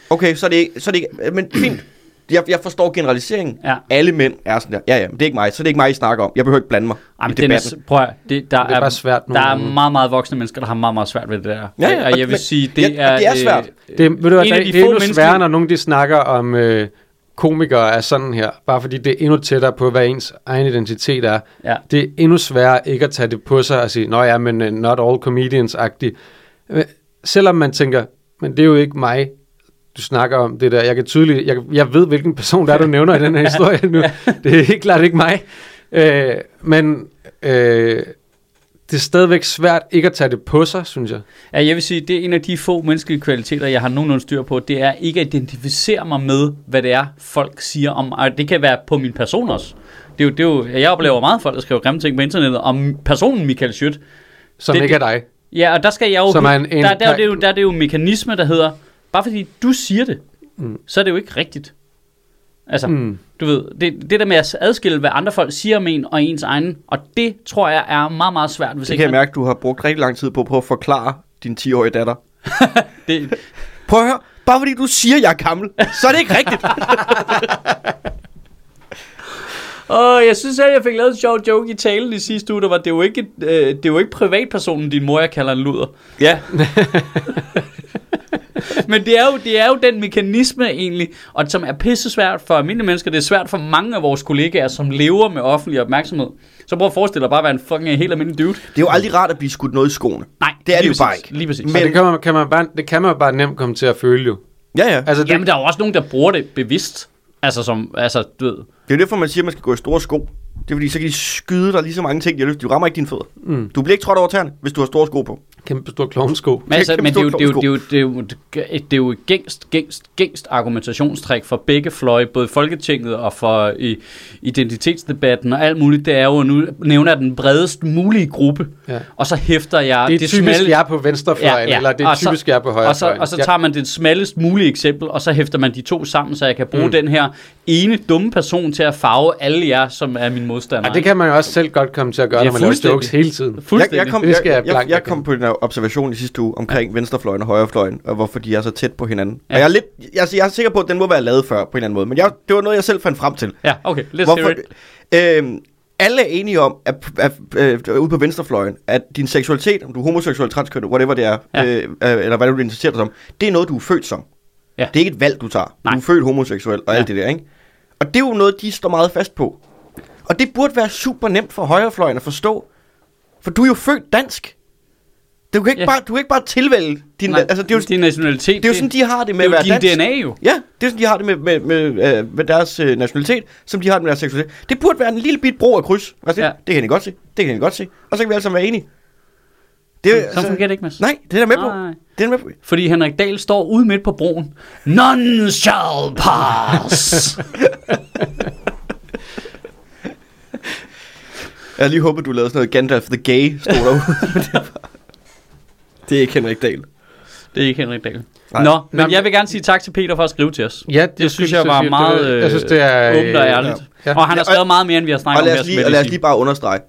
[SPEAKER 3] Okay, så er det ikke, så er det ikke men fint. Jeg, jeg forstår generaliseringen.
[SPEAKER 1] Ja.
[SPEAKER 3] Alle mænd er sådan der. Ja, ja, men det er ikke mig. Så er det ikke mig, I snakker om. Jeg behøver ikke blande mig
[SPEAKER 1] Ej,
[SPEAKER 3] i
[SPEAKER 1] men
[SPEAKER 3] debatten.
[SPEAKER 1] Dennis, prøv at, høre, det, der
[SPEAKER 2] Det er bare svært
[SPEAKER 1] Der
[SPEAKER 2] nogle
[SPEAKER 1] er
[SPEAKER 2] gange.
[SPEAKER 1] meget, meget voksne mennesker, der har meget, meget svært ved det der.
[SPEAKER 3] Ja, ja,
[SPEAKER 1] og
[SPEAKER 3] og-
[SPEAKER 1] jeg vil
[SPEAKER 3] men-
[SPEAKER 1] sige, det
[SPEAKER 3] ja,
[SPEAKER 1] er...
[SPEAKER 3] og det er
[SPEAKER 1] øh,
[SPEAKER 3] svært.
[SPEAKER 2] Det, ved du, hvad,
[SPEAKER 1] en af de
[SPEAKER 2] det, det er
[SPEAKER 1] få
[SPEAKER 2] endnu
[SPEAKER 1] mennesker-
[SPEAKER 2] sværere, når nogen de snakker om øh, komikere er sådan her, bare fordi det er endnu tættere på, hvad ens egen identitet er.
[SPEAKER 1] Ja.
[SPEAKER 2] Det er endnu sværere ikke at tage det på sig og sige, nå ja, men øh, not all comedians-agtig. Øh, Selvom man tænker, men det er jo ikke mig, du snakker om det der. Jeg kan tydeligt, jeg, jeg ved, hvilken person der er, du nævner i den her historie nu. Det er helt klart ikke mig. Øh, men øh, det er stadigvæk svært ikke at tage det på sig, synes jeg.
[SPEAKER 1] Ja, jeg vil sige, det er en af de få menneskelige kvaliteter, jeg har nogenlunde styr på, det er ikke at identificere mig med, hvad det er, folk siger om, og det kan være på min person også. Det er jo, det er jo, jeg oplever meget folk, der skriver grimme ting på internettet om personen Michael Schødt.
[SPEAKER 2] Som
[SPEAKER 1] Det-
[SPEAKER 2] det, ikke er dig.
[SPEAKER 1] Ja, og der skal jeg jo...
[SPEAKER 2] Som er en- en-
[SPEAKER 1] der, der, er det jo, der er det jo en mekanisme, der hedder, bare fordi du siger det, mm.
[SPEAKER 2] Mm.
[SPEAKER 1] så er det jo ikke rigtigt. Altså, mm.
[SPEAKER 2] Mm.
[SPEAKER 1] du ved, det, det der med at adskille, hvad andre folk siger om en og ens egen, og det tror jeg er meget, meget svært, hvis
[SPEAKER 3] Det kan
[SPEAKER 1] ikke
[SPEAKER 3] jeg mærke, du har brugt rigtig lang tid på at prøve at forklare din 10-årige datter.
[SPEAKER 1] man, det,
[SPEAKER 3] Prøv at høre, bare fordi du siger, jeg er gammel, så er det ikke rigtigt.
[SPEAKER 1] Åh, jeg synes at jeg fik lavet en sjov joke i talen i sidste uge, der var, det er jo ikke, et, øh, det er jo ikke privatpersonen, din mor, jeg kalder en luder.
[SPEAKER 3] ja,
[SPEAKER 1] Men det er, jo, det er jo den mekanisme egentlig, og som er pissesvært for almindelige mennesker. Det er svært for mange af vores kollegaer, som lever med offentlig opmærksomhed. Så prøv at forestille dig bare at være en fucking helt almindelig dude.
[SPEAKER 3] det er jo aldrig rart at blive skudt noget i skoene.
[SPEAKER 1] Nej,
[SPEAKER 3] Det er
[SPEAKER 1] lige
[SPEAKER 3] det jo bare
[SPEAKER 1] præcis,
[SPEAKER 3] ikke.
[SPEAKER 1] Lige præcis.
[SPEAKER 2] Men,
[SPEAKER 1] Men,
[SPEAKER 2] og det kan, man, kan man bare, det kan man bare nemt komme til at føle jo.
[SPEAKER 3] Ja, ja.
[SPEAKER 2] Altså, det,
[SPEAKER 1] Jamen, der er jo også nogen, der bruger det bevidst. Altså, som, altså, du ved,
[SPEAKER 3] Det er jo derfor, man siger, at man skal gå i store sko. Det er fordi, så kan de skyde dig lige så mange ting, de har lyst. til. De rammer ikke dine fødder. Mm. Du bliver ikke trådt over tæerne, hvis du har store sko på.
[SPEAKER 2] kæmpe stor klovnsko.
[SPEAKER 1] Men, altså,
[SPEAKER 3] Kæmpe
[SPEAKER 1] men det, er jo, det, er jo,
[SPEAKER 3] stor
[SPEAKER 1] det, er jo, det, er jo, det er jo et gængst, gængst, gængst argumentationstræk for begge fløje, både i Folketinget og for i, identitetsdebatten og alt muligt. Det er jo, at nu nævner jeg den bredest mulige gruppe,
[SPEAKER 2] Ja.
[SPEAKER 1] og så hæfter jeg
[SPEAKER 2] Det er typisk
[SPEAKER 1] smalle-
[SPEAKER 2] jer på venstrefløjen, ja, ja. eller det er
[SPEAKER 1] og
[SPEAKER 2] typisk jer på højrefløjen.
[SPEAKER 1] Og så, og så
[SPEAKER 2] Ja.
[SPEAKER 1] tager man det smallest mulige eksempel, og så hæfter man de to sammen, så jeg kan bruge mm. den her ene dumme person til at farve alle jer, som er min modstander.
[SPEAKER 2] Ja, det kan man jo også selv godt komme til at gøre,
[SPEAKER 1] Ja,
[SPEAKER 2] når man laver
[SPEAKER 1] fuldstændig.
[SPEAKER 2] jokes hele tiden.
[SPEAKER 1] Fuldstændig.
[SPEAKER 3] Jeg, jeg, kom,
[SPEAKER 2] Det skal
[SPEAKER 3] jeg,
[SPEAKER 2] jeg
[SPEAKER 3] jeg,
[SPEAKER 2] blankt
[SPEAKER 3] jeg kom på en observation i sidste uge omkring ja. venstrefløjen og højrefløjen, og hvorfor de er så tæt på hinanden. Ja. Og jeg er, lidt, jeg, altså, jeg er sikker på, at den må være lavet før på en eller anden måde, men jeg, det var noget, jeg selv fandt frem til.
[SPEAKER 1] Ja, okay, let's Hvorfor? hear
[SPEAKER 3] Hvorfor,
[SPEAKER 1] it.
[SPEAKER 3] øhm, alle er enige om, at, at, at, at ude på venstrefløjen, at din seksualitet, om du er homoseksuel, transkønnet, whatever det er,
[SPEAKER 1] Ja.
[SPEAKER 3] ja. øh, øh, eller hvad du interesserer dig som, det er noget, du er født som.
[SPEAKER 1] Ja.
[SPEAKER 3] Det er ikke et valg, du tager.
[SPEAKER 1] Nej.
[SPEAKER 3] Du er født homoseksuel og
[SPEAKER 1] Ja.
[SPEAKER 3] alt det der, ikke? Og det er jo noget, de står meget fast på. Og det burde være super nemt for højrefløjen at forstå, for du er jo født dansk. Du kan ikke,
[SPEAKER 1] Ja.
[SPEAKER 3] ja. bare, du kan ikke bare tilvælge din...
[SPEAKER 1] Nej,
[SPEAKER 3] altså, det er jo,
[SPEAKER 1] din nationalitet.
[SPEAKER 3] det er jo sådan, de har det med
[SPEAKER 1] det er
[SPEAKER 3] at
[SPEAKER 1] jo
[SPEAKER 3] være
[SPEAKER 1] din
[SPEAKER 3] dansk.
[SPEAKER 1] DNA jo.
[SPEAKER 3] Ja, det er sådan, de har det med, med, med, øh, med deres øh, nationalitet, som de har det med deres seksualitet. Det burde være en lille bit bro af kryds. Altså,
[SPEAKER 1] Ja.
[SPEAKER 3] ja. Det kan I godt se. Det kan I godt se. Og så kan vi alle sammen være enige. Det, altså-
[SPEAKER 1] Sådan fungerer det ikke, Mads.
[SPEAKER 3] Nej, det er der med på.
[SPEAKER 1] Nej.
[SPEAKER 3] Det er der med på.
[SPEAKER 1] Fordi Henrik Dahl står ude midt på broen. None shall pass.
[SPEAKER 3] Jeg lige håber, du lavede sådan noget Gandalf the Gay, stod derude. det, er bare- det er ikke Henrik Dahl.
[SPEAKER 1] det er ikke Henrik Dahl.
[SPEAKER 3] Nej.
[SPEAKER 1] Nå, men
[SPEAKER 2] Nå, men-
[SPEAKER 1] jeg vil gerne sige tak til Peter for at skrive til os.
[SPEAKER 2] Ja,
[SPEAKER 1] Det
[SPEAKER 2] det,
[SPEAKER 1] synes
[SPEAKER 2] skulle
[SPEAKER 1] jeg
[SPEAKER 2] så
[SPEAKER 1] var
[SPEAKER 2] sige,
[SPEAKER 1] meget
[SPEAKER 2] det,
[SPEAKER 1] øh,
[SPEAKER 2] jeg synes, det er
[SPEAKER 1] åbent og
[SPEAKER 2] øh,
[SPEAKER 1] ærligt.
[SPEAKER 2] ja.
[SPEAKER 1] Og han har
[SPEAKER 3] Ja, og-
[SPEAKER 1] skrevet meget mere, end vi har snakket
[SPEAKER 3] Og
[SPEAKER 1] om
[SPEAKER 3] lad
[SPEAKER 1] her.
[SPEAKER 3] os, lige,
[SPEAKER 1] skal
[SPEAKER 3] og
[SPEAKER 1] jeg
[SPEAKER 3] lad os lige bare understrege.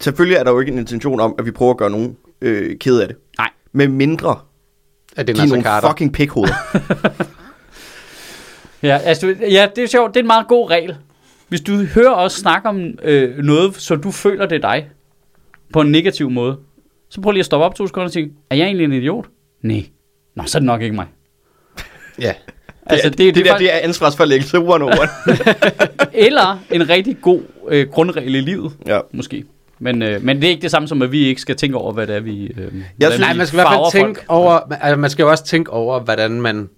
[SPEAKER 3] Selvfølgelig er der jo ikke en intention om, at vi prøver at gøre nogen øh, ked af det.
[SPEAKER 1] Nej.
[SPEAKER 3] Med mindre
[SPEAKER 2] At det
[SPEAKER 3] de
[SPEAKER 2] er
[SPEAKER 3] er
[SPEAKER 2] Nasser
[SPEAKER 3] nogle
[SPEAKER 2] Carter.
[SPEAKER 3] fucking pikhoveder.
[SPEAKER 1] sige. Ja, altså, du- ja, det er sjovt. Det er en meget god regel. Hvis du hører os snakke om øh, noget, så du føler det er dig, på en negativ måde, så prøv lige at stoppe op to sekunder og sige, er jeg egentlig en idiot? Nej. Nå, så er det nok ikke mig.
[SPEAKER 2] Ja.
[SPEAKER 1] Altså,
[SPEAKER 3] det, det, det, der,
[SPEAKER 1] faktisk-
[SPEAKER 3] det er ansvarsforlæggelse one on one.
[SPEAKER 1] Eller en rigtig god øh, grundregel i livet,
[SPEAKER 3] ja.
[SPEAKER 1] måske. Men, øh, men det er ikke det samme som, at vi ikke skal tænke over, hvad det er, vi... Øh, hvordan
[SPEAKER 3] synes-
[SPEAKER 1] vi
[SPEAKER 2] Nej, man skal i hvert
[SPEAKER 1] farver
[SPEAKER 2] fald tænke
[SPEAKER 1] folk.
[SPEAKER 2] over, altså, man skal jo også tænke over, hvordan man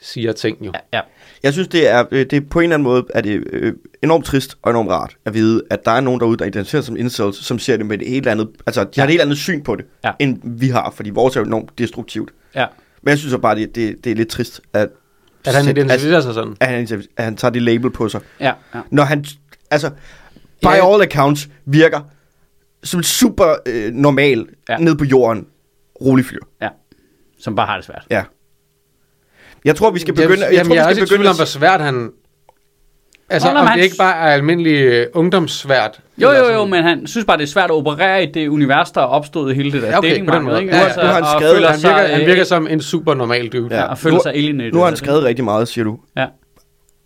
[SPEAKER 2] siger ting jo.
[SPEAKER 1] Ja, ja.
[SPEAKER 3] Jeg synes, det er, øh, det er på en eller anden måde er det, øh, enormt trist og enormt rart at vide, at der er nogen derude, der identificerer sig som incels, som ser det med et helt andet, altså de har et helt andet syn på det,
[SPEAKER 1] Ja.
[SPEAKER 3] ja. end vi har, fordi vores er jo enormt destruktivt.
[SPEAKER 1] ja.
[SPEAKER 3] Men jeg synes så bare, det, det, det er lidt trist, at,
[SPEAKER 2] At han
[SPEAKER 3] at,
[SPEAKER 2] identificerer sig sådan.
[SPEAKER 3] at, han, identif- at han tager det label på sig.
[SPEAKER 1] Ja, ja.
[SPEAKER 3] Når han, altså, by
[SPEAKER 2] Ja.
[SPEAKER 3] all accounts virker som super øh, normal,
[SPEAKER 1] Ja.
[SPEAKER 3] ja. ned på jorden, rolig fyr.
[SPEAKER 1] ja. Som bare har det svært.
[SPEAKER 3] Ja. Jeg tror, vi skal begynde...
[SPEAKER 2] Jamen, jamen,
[SPEAKER 3] tror,
[SPEAKER 2] jeg er
[SPEAKER 3] vi
[SPEAKER 2] også
[SPEAKER 3] skal
[SPEAKER 2] i tvivl
[SPEAKER 3] begynde
[SPEAKER 2] om, hvor
[SPEAKER 3] at...
[SPEAKER 2] svært han... Altså,
[SPEAKER 1] Nå, nå,
[SPEAKER 2] om
[SPEAKER 1] men
[SPEAKER 2] det
[SPEAKER 1] han-
[SPEAKER 2] ikke bare er almindelig øh, ungdomssvært.
[SPEAKER 1] Jo,
[SPEAKER 2] eller
[SPEAKER 1] jo,
[SPEAKER 2] sådan.
[SPEAKER 1] jo, men han synes bare, det er svært at operere i det univers, der er opstået i hele det der
[SPEAKER 2] Ja, okay, på den
[SPEAKER 1] datingmarked,
[SPEAKER 2] måde.
[SPEAKER 1] ikke?
[SPEAKER 2] Ja, ja.
[SPEAKER 1] Altså,
[SPEAKER 3] Nu har han
[SPEAKER 1] og
[SPEAKER 3] skrevet-
[SPEAKER 1] føler
[SPEAKER 2] Han virker,
[SPEAKER 1] sig, øh,
[SPEAKER 2] han virker som en super normal dude.
[SPEAKER 1] Ja,
[SPEAKER 2] Ja.
[SPEAKER 1] og føler
[SPEAKER 3] Nu-
[SPEAKER 1] sig alienated.
[SPEAKER 3] Nu har han
[SPEAKER 1] altså.
[SPEAKER 3] skrevet rigtig meget, siger du.
[SPEAKER 1] Ja.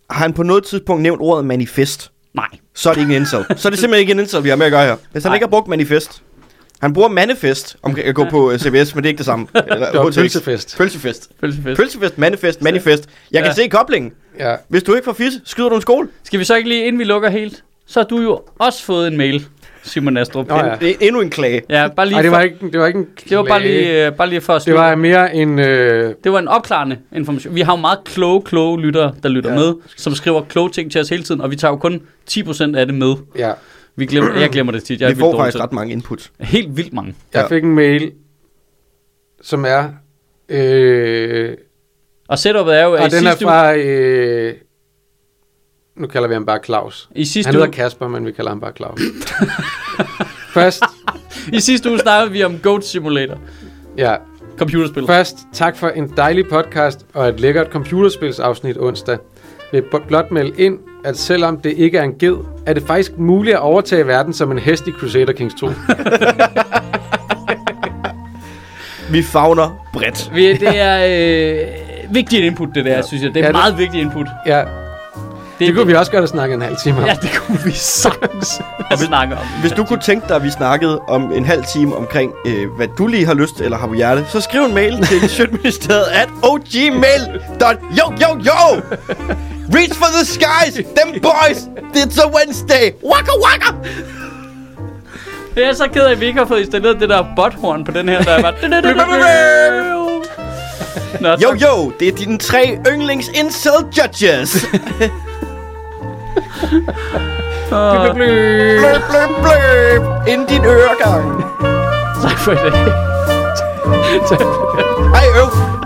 [SPEAKER 3] Har han på noget tidspunkt nævnt ordet manifest,
[SPEAKER 1] Nej.
[SPEAKER 3] så er det ikke en incel. så er det simpelthen ikke en incel, vi har med at gøre her. Hvis
[SPEAKER 1] Nej.
[SPEAKER 3] han Nej. ikke har brugt manifest. Han bruger manifest om at gå på øh, CBS, men det er ikke det samme. Eller,
[SPEAKER 2] Det var
[SPEAKER 3] hotels.
[SPEAKER 2] pølsefest.
[SPEAKER 3] Pølsefest.
[SPEAKER 1] Følelsesfest.
[SPEAKER 3] Pølsefest, manifest, manifest. Jeg kan
[SPEAKER 1] Ja.
[SPEAKER 3] ja. se koblingen.
[SPEAKER 2] ja.
[SPEAKER 3] Hvis du ikke får fisse, skyder du en skole.
[SPEAKER 1] Skal vi så ikke lige, inden vi lukker helt, så har du jo også fået en mail, Simon Astrup.
[SPEAKER 2] Nå, ja.
[SPEAKER 3] Det er endnu en klage.
[SPEAKER 1] ja bare lige
[SPEAKER 2] Ej, det var
[SPEAKER 1] for,
[SPEAKER 2] ikke, det var ikke en klage.
[SPEAKER 1] det var bare lige, øh, bare lige for at
[SPEAKER 2] Det
[SPEAKER 1] slutte.
[SPEAKER 2] var mere en... Øh,
[SPEAKER 1] Det var en opklarende information. Vi har jo meget kloge, kloge lyttere, der lytter ja.
[SPEAKER 3] Ja.
[SPEAKER 1] med, som skriver kloge ting til os hele tiden, og vi tager jo kun 10% af det med.
[SPEAKER 2] ja.
[SPEAKER 1] Vi glemmer, jeg glemmer det tit. Jeg er
[SPEAKER 3] Vi får
[SPEAKER 1] vildt
[SPEAKER 3] faktisk
[SPEAKER 1] dårlig
[SPEAKER 3] ret mange input.
[SPEAKER 1] til- Helt vildt mange.
[SPEAKER 2] Jeg
[SPEAKER 3] Ja.
[SPEAKER 2] fik en mail, som er... Øh,
[SPEAKER 1] Og setupet er jo, at i
[SPEAKER 2] og Ah, den er
[SPEAKER 1] sidste, uge,
[SPEAKER 2] fra... Øh, nu kalder vi ham bare Claus.
[SPEAKER 1] i sidste,
[SPEAKER 2] Han
[SPEAKER 1] uge,
[SPEAKER 2] hedder Kasper, men vi kalder ham bare Claus. først,
[SPEAKER 1] i sidste uge snakkede vi om Goat Simulator.
[SPEAKER 2] ja,
[SPEAKER 1] Computerspil.
[SPEAKER 2] først tak for en dejlig podcast og et lækkert computerspilsafsnit onsdag. Jeg vil blot melde ind, at selvom det ikke er en ged, er det faktisk muligt at overtage verden som en hest i Crusader Kings 2.
[SPEAKER 3] Vi fagner bredt.
[SPEAKER 1] Vi, det er øh, vigtigt input, det der, ja. synes jeg. Det er
[SPEAKER 2] Ja,
[SPEAKER 1] ja,
[SPEAKER 2] det-
[SPEAKER 1] meget vigtigt input.
[SPEAKER 2] ja, det kunne vi også godt have snakket en halv time om.
[SPEAKER 1] Ja, det kunne vi sagtens at snakke om.
[SPEAKER 3] Hvis du kunne tænke dig, at vi snakkede om en halv time omkring, øh, hvad du lige har lyst eller har på hjerte, så skriv en mail til Sjøtministeriet at ogmail.com. Yo, yo, yo! Reach for the skies! Them boys! It's a Wednesday! Waka, waka!
[SPEAKER 1] Jeg er så ked af, at vi ikke har fået installeret det der botthorn på den her, der er bare... Nå,
[SPEAKER 3] Yo,
[SPEAKER 1] tak.
[SPEAKER 3] yo! Det er dine tre yndlings incel judges!
[SPEAKER 1] Åh,
[SPEAKER 3] bløb, bløb, bløb! Ind din øregang!
[SPEAKER 1] Tak for i dag.
[SPEAKER 3] Ej, øv!